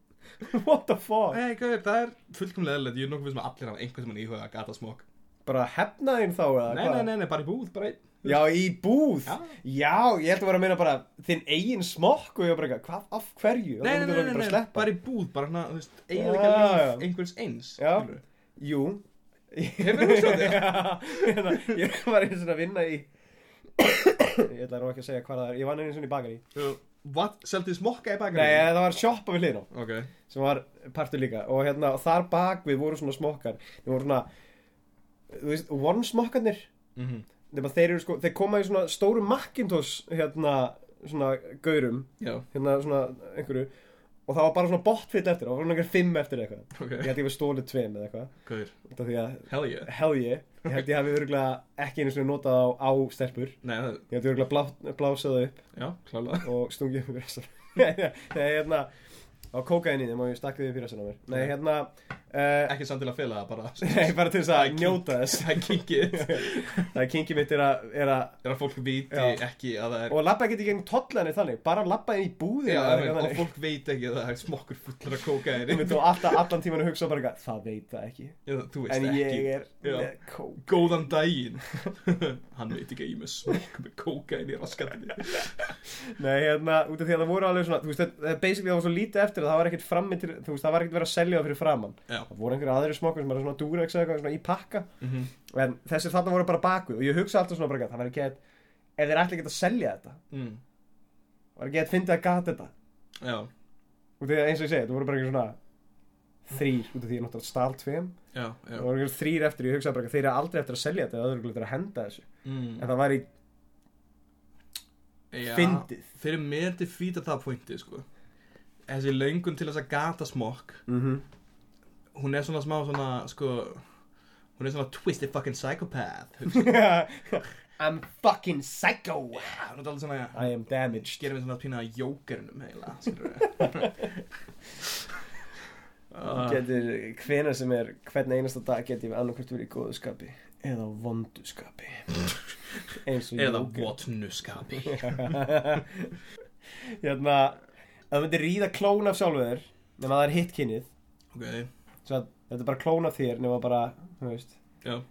S2: What the fuck
S3: Nei, gauður, það er fullkomlega eðlilegt Ég er nokkuð við sem að allir hafa einhvern sem hann íhugað að gata smokk
S2: Bara hefnaðin þá eða
S3: Nei, nei, nei, nei, bara í búð, bara einn
S2: Já, í búð
S3: Já.
S2: Já, ég held að vera að meina bara þinn eigin smokk og ég var bara eitthvað, hvað, af hverju
S3: Nei, nei, nei, nei, nei, bara í búð, bara hana, þú veist, eigið ekki að
S2: Já,
S3: líf einhvers eins
S2: Já.
S3: skilurðu.
S2: Jú
S3: Hefur þú hugsað þetta?
S2: þetta? ég var einu sinni að vinna í Ég ætla nú ekki að segja hvað það er Ég vann einu sinni í bakari
S3: Uh, What? Seldið smokka í
S2: Nei,
S3: bakaríi?
S2: en það var sjoppa við hliðin á
S3: Ok.
S2: sem var partur líka og hérna og þar bak við voru svona smokkar þeir voru svona þú veist, one smokkarnir
S3: mm
S2: Mhm.
S3: -hmm.
S2: nema þeir eru sko, þeir koma í svona stóru Macintosh hérna, svona gaurum,
S3: Já,
S2: hérna svona einhverju og það var bara svona botfitt eftir, það var svona einhver fimm eftir eitthvað
S3: ok,
S2: ég held ég var stólið tveim eða eitthvað
S3: gauður,
S2: út af því að,
S3: hell yeah
S2: hell yeah ég held ég hafi örgulega ekki einu svona notað á, á stelpur,
S3: Nei, það,
S2: ég held ég örgulega blásað upp
S3: já, klála
S2: og stungið upp í rassar nei, hérna á kókaðin í þeim og ég stakk því upp í rassan á mér nei, hérna uh,
S3: Ekki samt til að fela það, bara
S2: nei, bara til þess
S3: Það er
S2: að
S3: kink.
S2: njóta þess
S3: Það er kinkið
S2: það er kynkið mitt er að, er að
S3: Er að fólk viti
S2: Já.
S3: ekki að það er
S2: og labba ekkert í gegn tollanir þannig bara labba inn í búðina
S3: Já,
S2: eða
S3: ég meina,
S2: eitthvað
S3: og
S2: þannig.
S3: fólk veit ekki að það er smokkur fullar af kókaðinni
S2: Einmitt, og alltaf allan tíman að hugsa bara eitthvað, það veit það ekki
S3: Þú veist
S2: en
S3: ekki
S2: ég er
S3: Já.
S2: með kók
S3: Góðan daginn Hann veit ekki að ég er með smokk með kókaðinni í raskatinni
S2: nei hérna út af því að það voru alveg svona þú veist það- það er basically það var svo lítið eftir að það var ekkert frammi til þú veist það var ekkert verið að selja það fyrir framann
S3: Já
S2: það voru einhverja aðri smokkur sem var svona dúrex eða eitthvað svona í pakka
S3: Mhm.
S2: en þessir þarna voru bara bakuð og ég hugsa alltaf svona bara eitthvað, það var ekki að ef þeir ætla ekki að selja þetta
S3: mm.
S2: var ekki að fyndi að gata þetta
S3: Já,
S2: út af því að eins og ég segi þetta voru bara einhver svona þrýr út af því ég náttúrulega stál tveim
S3: já, já
S2: það voru einhver þrýr eftir ég hugsaði bara eitthvað, þeir eru aldrei eftir að selja þetta eða öðru eftir að henda þessu
S3: mm.
S2: en það var í
S3: Já,
S2: fyndið.
S3: Fyrir mér til fýta það pointi, sko Þessi löngun til þess að gata smokk
S2: mm
S3: Hún er svona smá svona, sko Hún er svona twisted fucking psychopath Hún
S2: I'm fucking psycho
S3: er alltaf svona
S2: I am damaged
S3: gerum við svona pína að jókernum heila skilurðu. Ah,
S2: getur hvena sem er hvern einasta dag getur við annarkvært verið í góðu skapi eða vondu skapi eins og
S3: eða
S2: Joker.
S3: votnuskapi
S2: hérna ef þú myndir ríða klón af sjálfu þér nema það er hitt kynið
S3: ok,
S2: svo að þetta er bara klón af þér nema bara þú veist
S3: já
S2: uh,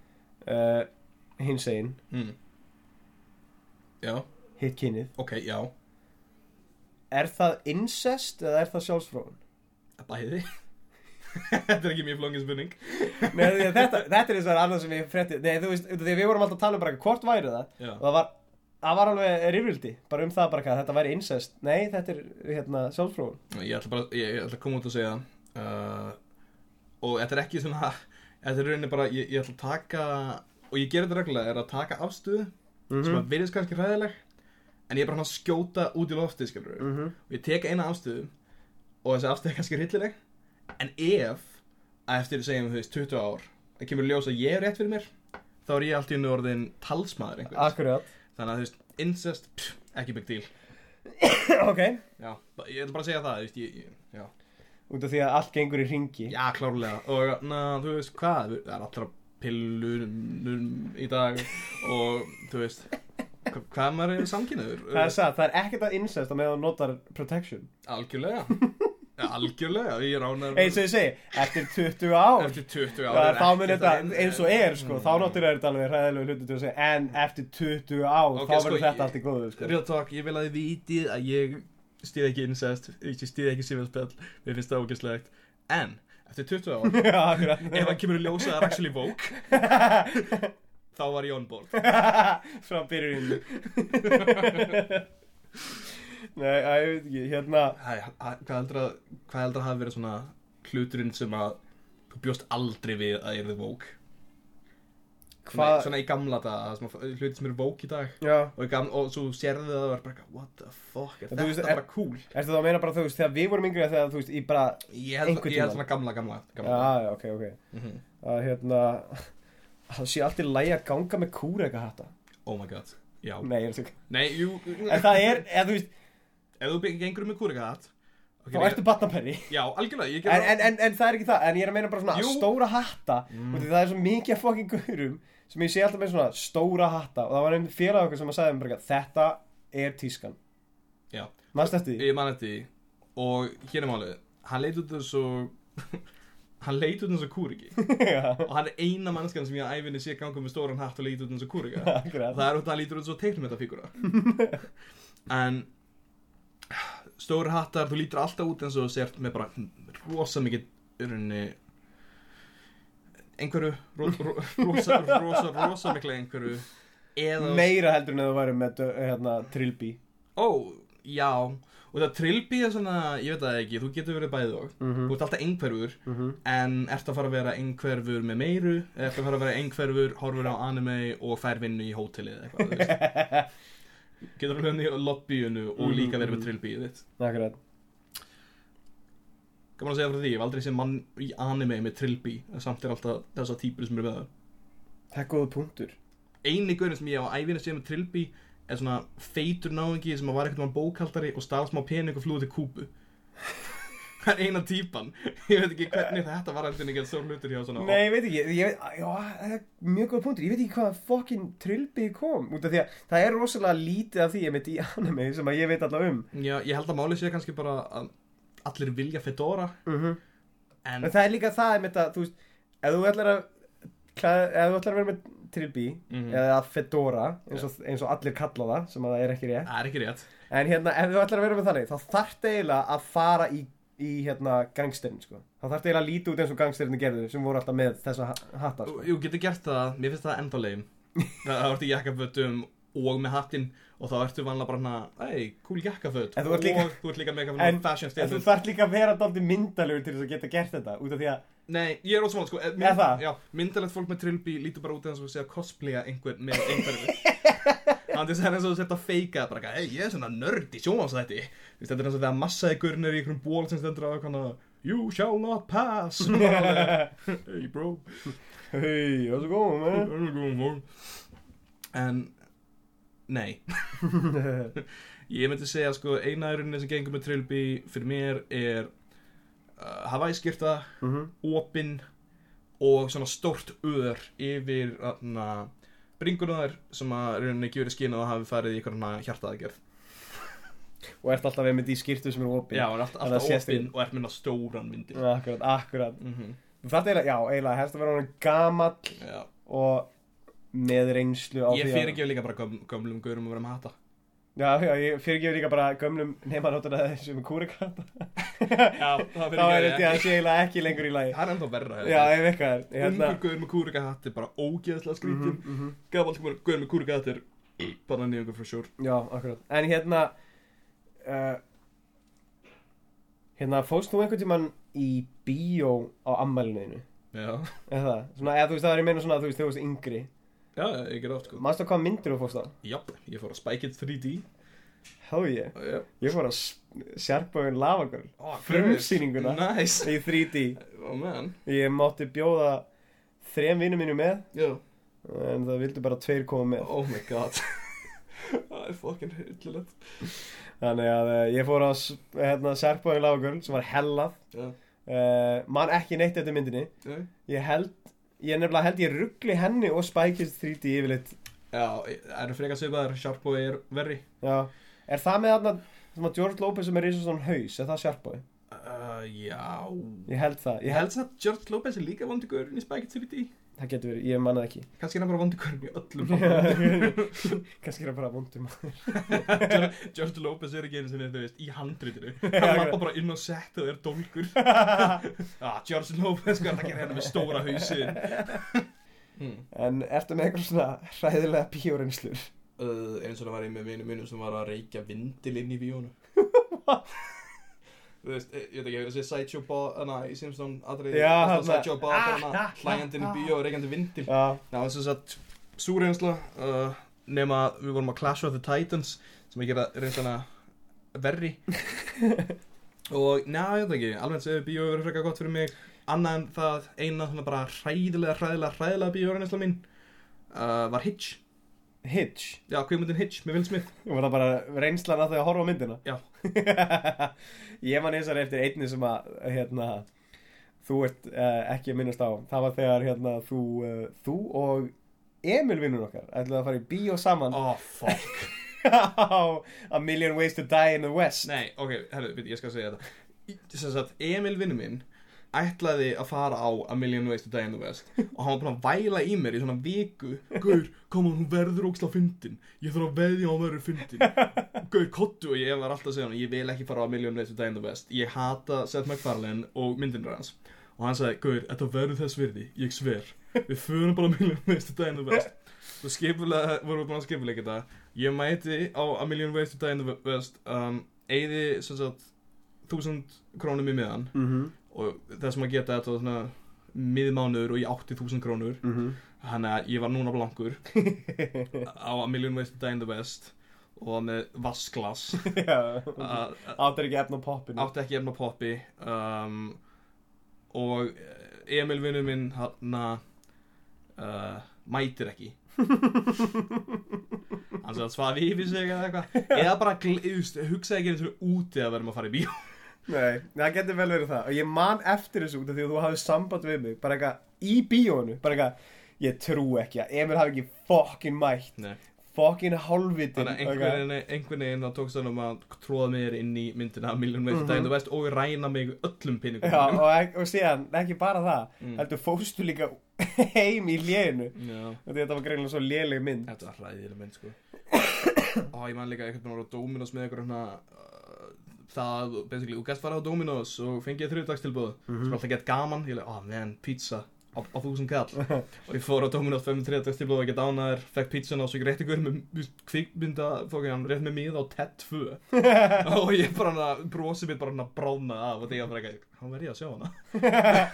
S2: hins einn
S3: mm. já,
S2: hitt kynið
S3: ok, já
S2: er það incest eða er það sjálfsfróun
S3: bæði þetta er ekki mjög flóngin spurning
S2: Nei, því að þetta, þetta er eins og það annað sem ég frétti Nei, þú veist, út af því að við vorum alltaf að tala um bara hvort væri það
S3: já,
S2: og það var, það var alveg rifrildi bara um það bara hvað þetta væri incest nei þetta er hérna sjálfsfróun
S3: ég ætla bara ég, ég ætla að koma út og segja uh, og þetta er ekki svona þetta er rauninni bara, ég, ég ætla að taka og ég gerir þetta reglulega, er að taka afstöðu sem að virðist kannski hræðileg en ég er bara hann að skjóta út í lofti skilur við
S2: Mhm.
S3: og ég tek eina afstöðu og þessi afstöðu er kannski hryllileg en ef að eftir segjum þú veist 20 ár það kemur í ljós að ég er rétt fyrir mér þá er ég allt í unnu orðin talsmaður einhvers
S2: akkurat
S3: þannig að þú veist incest pff, ekki big deal
S2: ok
S3: já, ba- ég ætla bara að segja það þú veist, ég, ég, já.
S2: út af því að allt gengur í ringi
S3: já klárlega og na, þú veist hvað það er allra pillur í dag og þú veist hva- hvað maður er samkynniður
S2: það er satt það er ekkert að incest að meðan þú notar protection
S3: Algjörlega Ja, Algjörlega, ég er ánæður
S2: eins og ég segi eftir 20 ár
S3: Eftir 20 ári
S2: Það, þá mun þetta eins og er sko, þá náttúrulega er þetta alveg hræðilegu hluti til að segja en eftir 20 ár
S3: Ok,
S2: þá verður
S3: sko, ég-
S2: þetta allt í góðu sko.
S3: Real talk, ég vil að þið vitið að ég stýð ekki incest Ég stýð ekki síðanspjall Mér finnst það ógæslegt En, eftir 20 ári
S2: Já, akkurat.
S3: Ef hann kemur í ljósa að það er actually woke Þá var ég on board
S2: frá byrjunni nei, að, ég veit ekki, hérna
S3: Æ, að- Hvað heldur að Hvað heldur að hafa verið svona Hluturinn sem að Þú bjóst aldrei við að ég er woke Svona-
S2: hvað
S3: Svona í gamla þetta Hlutir sem eru woke í dag
S2: já,
S3: og, ég gam, og svo sérðu það og er bara eitthvað, what the fuck, er
S2: En
S3: þetta
S2: þú veist, e-
S3: bara
S2: er-
S3: cool
S2: ertu þá að meina bara þú veist, þegar við vorum yngri þegar þú veist, í bara
S3: ég held,
S2: Einhvern
S3: ég held
S2: tímann.
S3: svona gamla, gamla,
S2: já,
S3: gamla.
S2: já, ok, ok
S3: Mm
S2: að hérna það sé allt í lægi að ganga með kúr eitthvað hatta
S3: oh my god, já
S2: nei, ég er svo
S3: nei, jú,
S2: en það er, eða þú veist,
S3: ef þú byggir gengur um með kúrika hatt
S2: þá ertu batnaperri
S3: já, algjörlega, ég
S2: en,
S3: gerði
S2: en, en, en það er ekki það, en ég er að meina bara svona
S3: Jú.
S2: stóra hatta, mm. það er svo mikið af fucking guðurum sem ég sé alltaf með svona stóra hatta og það var einn félag okkur sem að sagði mér bara þetta er tískan
S3: já,
S2: mannst eftir því?
S3: ég man eftir því og hér er málið, hann leit út eins og hann leit út eins og kúriki
S2: Já,
S3: og hann er eina mannskan sem ég á æfinni sé ganga með stóran hatt og leit út eins og kúrika
S2: akkurat.
S3: Það er út að hann lítur út svo teiknumyndafígura En Stóri hattar, þú lítur alltaf út eins og þú sért með bara rosa mikið Urunni Einhverju ro, ro, rosa, rosa, rosa mikla einhverju Eða
S2: meira heldur en að þú væri með dö- hérna, trilby
S3: Ó, já, og það trilbi er svona, ég veit það ekki, þú getur verið bæðið og
S2: Mhm.
S3: Þú ert alltaf einhverfur,
S2: Mhm.
S3: en ert að fara að vera einhverfur með meiru eða Ert að fara að vera einhverfur, horfur á anime og fær vinnu í hótelið eða eitthvað, þú veist Getur verið vinnu í lobbyinu og líka verið með trilbið þitt
S2: Akkurat
S3: Gaman að segja frá því, ég hef aldrei séð mann í anime með trilbi En samt er alltaf þessa típur sem eru með það
S2: Það er góða punktur
S3: Einu gaurin sem ég á ævinni séð með trilbi er svona feitur náungi sem að var eitthvað mann bókaldari og stál smá pening og flúið til Kúbu Það er eina típan Ég veit ekki hvernig þetta var alltaf ekki stór hlutur hjá svona
S2: Nei, ég veit ekki, ég veit, já, það er mjög góða punktur Ég veit ekki hvað fokkin trilbi kom Út af því að það er rosalega lítið af því Ég veit í anime sem að ég veit alltaf um
S3: Já, ég held að máli sé kannski bara að allir vilja Fedora
S2: mm En
S3: en
S2: það er líka það einmitt að, þú veist, ef þú ætlar að klæð, ef þú ætlar að vera með trilby
S3: Mhm.
S2: eða fedora, eins og, eins og allir kalla það, sem að það er ekki rétt
S3: það er ekki rétt.
S2: en hérna, ef þú ætlar að vera með þannig, þá þarft eiginlega að fara í, í hérna, gangsterinn, sko þá þarft eiginlega að líta út eins og gangsterinn gerðu sem voru alltaf með þessa ha- hatta,
S3: Þú
S2: sko
S3: þú getur gert það, mér finnst það enda leim. það það ertu í jakkafötum og með hattinn og þá ertu vanlega bara hana, ei, cool jakkaföt
S2: En þú ert líka-
S3: og þú ert líka með eitthvað
S2: En-
S3: svona
S2: En
S3: fashion
S2: þú
S3: statement.
S2: þarft líka að vera dálítið myndalegur til þess að geta gert þetta, út af því að
S3: Nei, ég er ósmála, sko. eh,
S2: Er það?
S3: Já, myndalegt fólk með trilby lítur bara út eins og sé að cosplaya einhvern með einhverju. Þannig að það er eins og þú sért að feika bara eitthvað, hei, ég er svona nörd í sjónvansætti. Þetta er eins og þegar massaði gurnir í einhverjum ból sem stendur á eitthvað hana, You shall not pass. Og maður alveg, hey bro,
S2: hei, það er svo góð,
S3: það
S2: með
S3: er ekki um hún. En, nei. Ég myndi segja, sko, eina eruninni sem gengur með trilby fyrir mér er uh, Hawaii skyrta opinn og svona stórt öður yfir na, bringunar sem að rauninni ekki verið skynað að hafi farið í eitthvað hjartaðagerð.
S2: og ert alltaf einmitt í skýrtu sem er opið
S3: Já, hann er alltaf,
S2: Þannig að
S3: alltaf
S2: sést
S3: opinn og er minna stóran myndir.
S2: Akkurat, akkurat
S3: Mm -hmm.
S2: Þú þarft eiginlega, já, eiginlega, helst að vera hann gamall og með reynslu á
S3: Ég
S2: því að-
S3: fyrirgef líka bara göm, gömlum gaurum að vera með hata.
S2: Já, já, ég fyrirgef líka bara gömlum neymanóttuna þessum kúrikata
S3: Já, það
S2: Þá er þetta að sé eiginlega ekki lengur í lagi
S3: Það er ennþá verra.
S2: Já, ef eitthvað er
S3: Hérna.
S2: hérna,
S3: Ungur gaur með kúrika hatt er bara ógeðslega skrítin. Mm
S2: mhm.
S3: -hmm. Gafall gaur með kúrika hatt er bara nýjungur frá sjór.
S2: Já, akkurat En hérna uh, Hérna, fóst þú einhvern tímann í bíó á ammælinu
S3: Já.
S2: Eða það, svona, eða þú veist, það er ég meina svona, þú veist, þegar þú veist yngri
S3: Já, ég ger átt, sko.
S2: Manstu hvað myndir þú fóst á?
S3: Japp, ég fór að Spike It 3D.
S2: Há ég,
S3: Já.
S2: ég fór að sjarkbóðin lavagörl
S3: Oh,
S2: Frumsýninguna.
S3: Nice.
S2: Í 3D
S3: Oh man
S2: Ég mátti bjóða þrem vinnum mínu með
S3: Já
S2: en það vildu bara tveir koma með
S3: Oh my god Það er fucking hyllilegt
S2: þannig að uh, ég fór á s- hérna, Serpóin Lágurl sem var hellað
S3: Já
S2: uh, man ekki neitt eftir myndinni
S3: Nei.
S2: ég held, ég nefnilega held ég ruggli henni og spækist 3D yfirleitt
S3: Já, eru frekar svipaðar Sharpo er verri
S2: já, er það með þarna sem að George Lopez sem er eins og svona haus er það Serpói?
S3: uh, Já
S2: Ég held það,
S3: Ég
S2: ég held,
S3: held að George Lopez er líka vondi gaurin í Spike It 3D
S2: það getur verið, ég manna það ekki
S3: Kannski er hann bara vondi gaurin í öllum
S2: kannski er það bara um vondum
S3: George- George Lopez er ekki einu sinni, þú veist, í handritinu Hann
S2: Já,
S3: lappa
S2: ok.
S3: bara inn á set og er dólgur ah, George Lopez, hvað er það að gera hérna með stóra hausin hmm.
S2: en ertu með eitthvað svona hræðilega bíóreynslur
S3: uh, eins og það var ég með vinum mínum sem var að reykja vindil inn í bíónu þú veist, eh, ég veit ekki, hefur þessi Sideshow Bob, hana, í Simpson atriði,
S2: Já,
S3: alltaf
S2: þarna. Ah,
S3: Sideshow Bob, hana, hlægjandi inn í bíó og reykjandi vindil
S2: já,
S3: Já, þess að sagt, sú reynsla uh, nema að við vorum að Clash of the Titans sem að gera reynslana verri og neða, ég veit ekki, alveg þessi bíó hefur verið frekar gott fyrir mig annað en það eina svona bara hræðilega, hræðilega, hræðilega bíó reynsla mín uh, var Hitch
S2: Hitch
S3: Já, kvikmyndin Hitch með Will Smith
S2: Var það bara reynslan að þau að horfa á myndina?
S3: Já.
S2: ég man eins og eftir einni sem að, hérna, þú ert uh, ekki að minnast á. Það var þegar, hérna, þú, uh, þú og Emil vinnur okkar ætlaðu að fara í bíó saman
S3: Oh, fuck
S2: á A Million Ways to Die in the West.
S3: Nei, ok, herru, veit, ég skal segja þetta Í- Sem sagt, Emil vinnu minn ætlaði að fara á A Million Ways to Die in the West og hann var búin að væla í mér í svona viku Gaur, koma, hún verður ógst á fyndin Ég þarf að veðja á hún verður fyndin Gaur, kottu og ég var alltaf að segja hann Ég vil ekki fara á A Million Ways to Die in the West Ég hata Seth MacFarlane og myndinur hans og hann sagði, Gaur, þetta verður þess virði Ég sver, við förum bara A Million Ways to Die in the West Svo skipulega, vorum við búin að skipulega þetta Ég mæti á A Million Ways to Die in the West um, Eyði sem sagt 1000 krónum í miðan
S2: Mhm,
S3: og það sem að geta þetta var svona miðmánuður og ég átti 1000 krónur
S2: mhm
S3: Þannig að ég var núna blankur á A Million Ways to Die in the West og var með vasklas
S2: Já,
S3: að
S2: áttur ekki efna á poppinu
S3: átti ekki efna á poppi um, og eh, Emil vinnu minn hann uh, mætir ekki hann sagði að svaði yfir sig eða eitthvað eða bara gl- þú veist, hugsaði ekki eins og úti að verðum að fara í bíó
S2: Nei, það getur vel verið það og ég man eftir þessu út af því að þú hafði samband við mig bara eitthvað í bíónu bara eitthvað, ég trú ekki að Emil hafi ekki fokkin mætt
S3: Nei.
S2: fokkin hálfvitin
S3: þannig að einhvern veginn- einhvern veginn þá tókst hann um að tróða mér inn í myndina Million Ways to Die in the West og ræna mig öllum pinningum
S2: Já, og, ek- og síðan, ekki bara það
S3: Mm.
S2: heldur fóstu líka heim í lénu
S3: Já.
S2: þetta var greinilega svo léleg mynd
S3: Þetta var hræðileg mynd sko Ó, ég man líka einhvern veginn á Dominos með einhver hérna uh, Það, basically, þú gæst fara á Dominos og fengið þriðdagstilbúð mm -hmm. Svo alltaf gett gaman, ég leið, oh man, pizza á, á þúsund kall Og ég fór á Dominos, fæði mér þriðdagstilbúð og gett ánæður Fekk pizzan á svo ekki rétt ykkur með þú veist, kvikmynda, fók ég hann rétt með mið á TED2 Og ég bara hana, brosi mitt bara hana bráðnaði af og þegar bara ekki, hann verði að sjá hana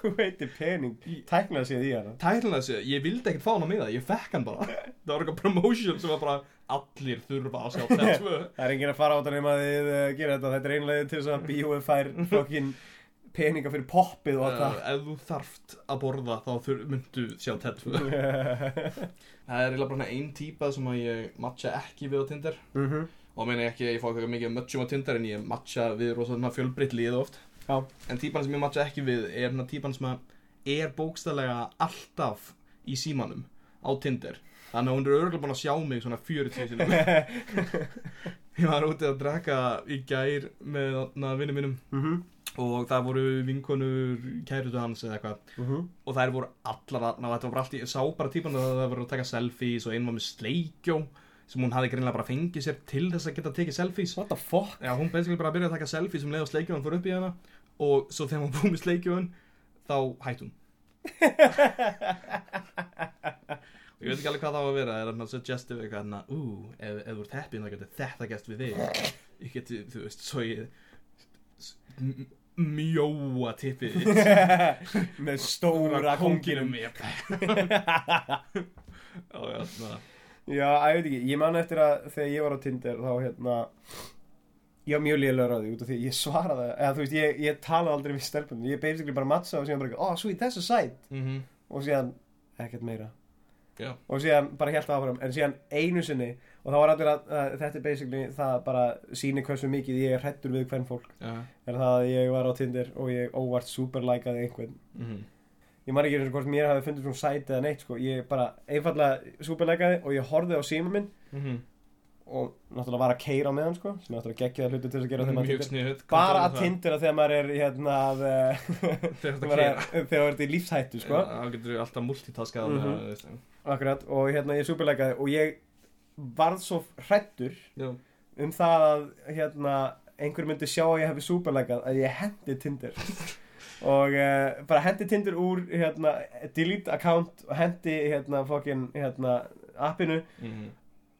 S2: þú veitir pening, tæknaði sér í hana
S3: Tælinn þessi, ég vildi ekkert fá hann á miða, ég fekk hann bara Það var eitthvað promotion sem var bara Allir þurfa að sjá TED2
S2: það er enginn að fara á þetta nema að þið uh, gera þetta þetta er einlega til þess að bíóið fær fokkin peninga fyrir poppið og
S3: uh, Ef þú þarft að borða þá þur, myndu sjá TED2 Það
S2: allt
S3: er eiginlega bara einn típa sem að ég matcha ekki við á Tinder
S2: það
S3: Og meina ég ekki að ég fá eitthvað mikið matchum á Tinder En ég matcha við rosa fjölbreytt liða oft
S2: Já.
S3: En típan sem ég matcha ekki við er hérna típan sem að er bókstælega alltaf í símanum á Tinder Þannig að hún er örgulega búin að sjá mig svona 40 sinum Ég var úti að drakka í gær með vinnum mínum
S2: Mhm,
S3: og það voru vinkonur kæruðu hans eða eitthvað
S2: mhm.
S3: og þær voru allar að, ná, þetta var bara allt í, ég sá bara típan að það voru að taka selfies og einn var með sleikjó sem hún hafði greinlega bara fengið sér til þess að geta tekið selfies
S2: What the fuck?
S3: Já, hún basically bara byrjaði að taka selfies um leið og sleikjóðan fór upp í hana og svo þegar hún búið með sleikjóðan þá hætti hún og ég veit ekki alveg hvað það á að vera er hann að suggestive eitthvað hann að ú, ef, ef þú ert heppin þá getur þetta gæst við þig ég geti, þú veist, svo ég s- m- mjóa tippið þitt.
S2: Með stóra um konginum
S3: Yep. og hérna
S2: Já, að ég veit ekki, ég man eftir að þegar ég var á Tinder þá hérna ég var mjög lélegur á því út af því ég svaraði eða þú veist, ég, ég talaði aldrei við stelpunum ég basically bara matsa og síðan bara oh sweet, that's a sight
S3: mm -hmm.
S2: og síðan ekkert meira
S3: Já.
S2: og síðan bara helt áfram en síðan einu sinni og þá var allir að, að þetta er basically það bara síni hversu mikið ég er hrættur við hvern fólk
S3: uh,
S2: er það að ég var á Tinder og ég óvart superlækaði einhvern
S3: mm -hmm.
S2: ég man ekki eins og hvort mér hafi fundið svona sæti eða neitt sko. ég bara einfallega superleikaði og ég horfði á síma minn
S3: Mm -hmm.
S2: og náttúrulega var að keira með hann sko, sem er náttúrulega geggjaða hlutu til þess að gera þegar maður
S3: Mm, mjög
S2: tindir
S3: sniðut
S2: bara að tindera þegar maður er hérna að, eh,
S3: þegar þetta
S2: maður
S3: kera
S2: er- þegar maður er í lífshættu sko.
S3: Já, þá getur við alltaf multitaskað
S2: Mhm.
S3: mm
S2: akkurat, og hérna ég superleikaði og ég varð svo hrættur
S3: -hmm.
S2: um það að hérna, einhver myndi sjá að ég hefði superleikað að ég hendi Tinder og uh, bara hendi Tinder úr hérna, delete account og hendi hérna, fokkin, hérna, appinu
S3: mm -hmm.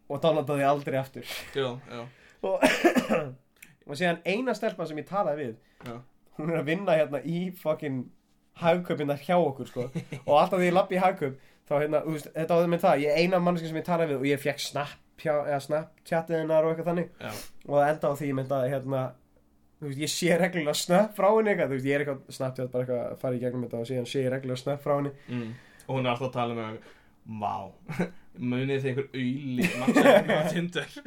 S2: og downloadaði aldrei aftur
S3: Já, já,
S2: og, og síðan eina stelpa sem ég talaði við
S3: já
S2: hún er að vinna hérna í fokkin hagköpina hjá okkur sko og alltaf því ég lappi í hagköp þá hérna, þú veist, þetta áður með það, ég er eina mannski sem ég talaði við og ég fekk snap hjá, eða snap tjatiðinar og eitthvað þannig
S3: Já,
S2: og það enda á því ég myndi að hérna, þú veist, ég sé reglulega snöpp frá henni eitthvað, þú veist, ég er eitthvað snabbt bara eitthvað að fara í gegnum þetta og síðan sé ég reglulega snöpp frá henni
S3: mm. og hún er alltaf að tala með Vá, munið þið einhver auðli matchaði mig á Tinder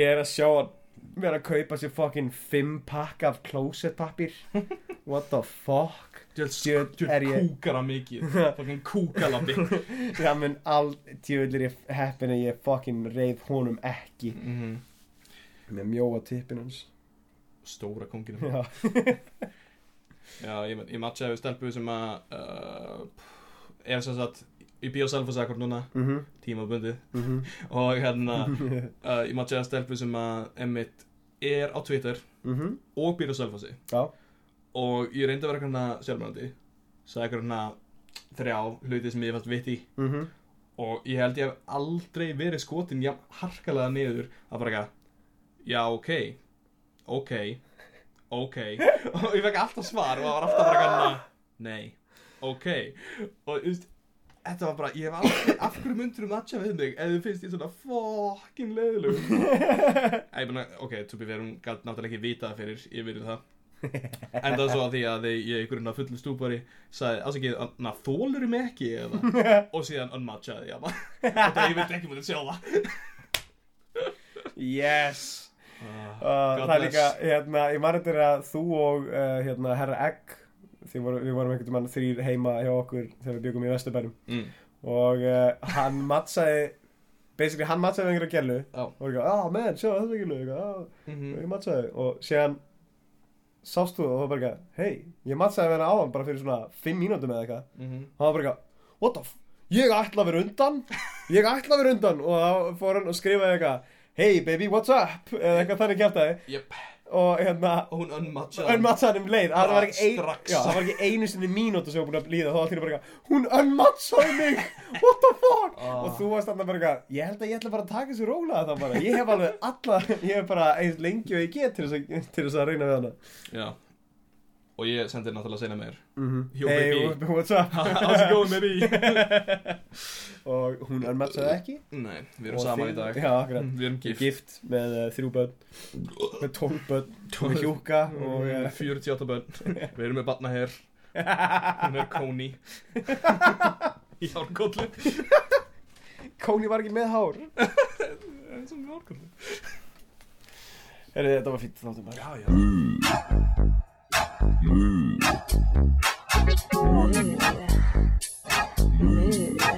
S2: ég er að sjá hann vera að kaupa sér fokkin fimm pakka af klósettpappir what the fuck Djöfull
S3: Djöld
S2: er ég-
S3: kúkara mikið Fucking kúkalabbi
S2: það mun all djöðlir ég heppin að ég fokkin reyð honum ekki
S3: mm
S2: með mjóa tippin hans
S3: Stóra um konginum
S2: já,
S3: Já, ég, ég matchaði við stelpu sem að uh, Er sem sagt Í bíó selfasakor núna
S2: mhm,
S3: Tímabundið
S2: mhm
S3: Og hérna uh, Ég matchaði við stelpu sem að Emmitt er á Twitter
S2: mhm,
S3: Og býr á selfasi
S2: já,
S3: og ég reyndi að vera hérna sjálfmyndandi sagði hérna þrjá hluti sem ég fannst vitt í
S2: mhm
S3: og ég held ég hef aldrei verið skotin jafn harkalega niður að bara eitthvað, já, ok, ok, ok, og ég fekk alltaf svar og það var alltaf bara eitthvað, nei, ok, og þú veist, þetta var bara, ég hef aldrei, af hverju myndur um matcha við mig ef þú finnst ég svona fokkin leiðilug? Æ, ég meina, ok, to be fair, hún gæti náttúrulega ekki vita það fyrir, ég verið það. Endað svo að því að þið- ég einhverjum að fullu stúpari sagði, afsakið, na, þólurum ekki eða, og síðan unmatchaði ég hana. Þetta ég veit ekki mútið sjá það.
S2: Yes
S3: Ah,
S2: Uh,
S3: God
S2: það er líka,
S3: bless.
S2: hérna, ég man þetta er að þú og uh, hérna, herra Egg því voru, við vorum einhvern veginn þrýr heima hjá okkur þegar við byggum í Vesturbænum
S3: Mm.
S2: og uh, hann matsaði basically hann matsaði við einhverja gælu
S3: Já.
S2: og var eitthvað, ah man, sjá þetta gælu eitthvað, ah,
S3: Mhm.
S2: ég matsaði og síðan sást þú og það var bara eitthvað, hei ég matsaði við hana áðan bara fyrir svona 5 mínútum eða eitthvað
S3: Mhm.
S2: og hann var bara eitthvað, what the f ég ætla að vera undan, ég ætla að vera undan og þá fór hann og skrifaði eitthvað hey baby what's up eða eitthvað þannig kjartaði
S3: Jep,
S2: og hérna
S3: og hún unmatchaði.
S2: unmatchaði um leið það
S3: Bara
S2: var, ekki ein,
S3: Ah, strax.
S2: já, það var ekki einu sinni mínútu sem var búin að líða þá allir bara eitthvað, hún unmatchaði mig what the fuck
S3: Ah.
S2: og þú varst þarna bara eitthvað ég held að ég ætla bara að taka þessu róla þá bara ég hef alveg alla ég hef bara eins lengi og ég get til þess að, til þess að reyna við hana
S3: Já. Og ég sendi náttúrulega sena meir. Yo,
S2: hey
S3: Mhm. baby.
S2: what's up
S3: How's it going, baby?
S2: og hún unmatchaði ekki
S3: Nei, við erum
S2: Og
S3: saman í
S2: þið-
S3: dag.
S2: já, akkurat
S3: Við erum gift.
S2: gift með uh, þrjú börn með tólf börn með hjúka og
S3: Og
S2: uh,
S3: 48 börn. Við erum með batna hér. Hún er Kóni. Í hárkóllu.
S2: Kóni var ekki með hár
S3: Eins og í hárkóllu.
S2: Heri, þetta var fýtt þáttum bara
S3: Já, já.
S1: Nöda. Nöda.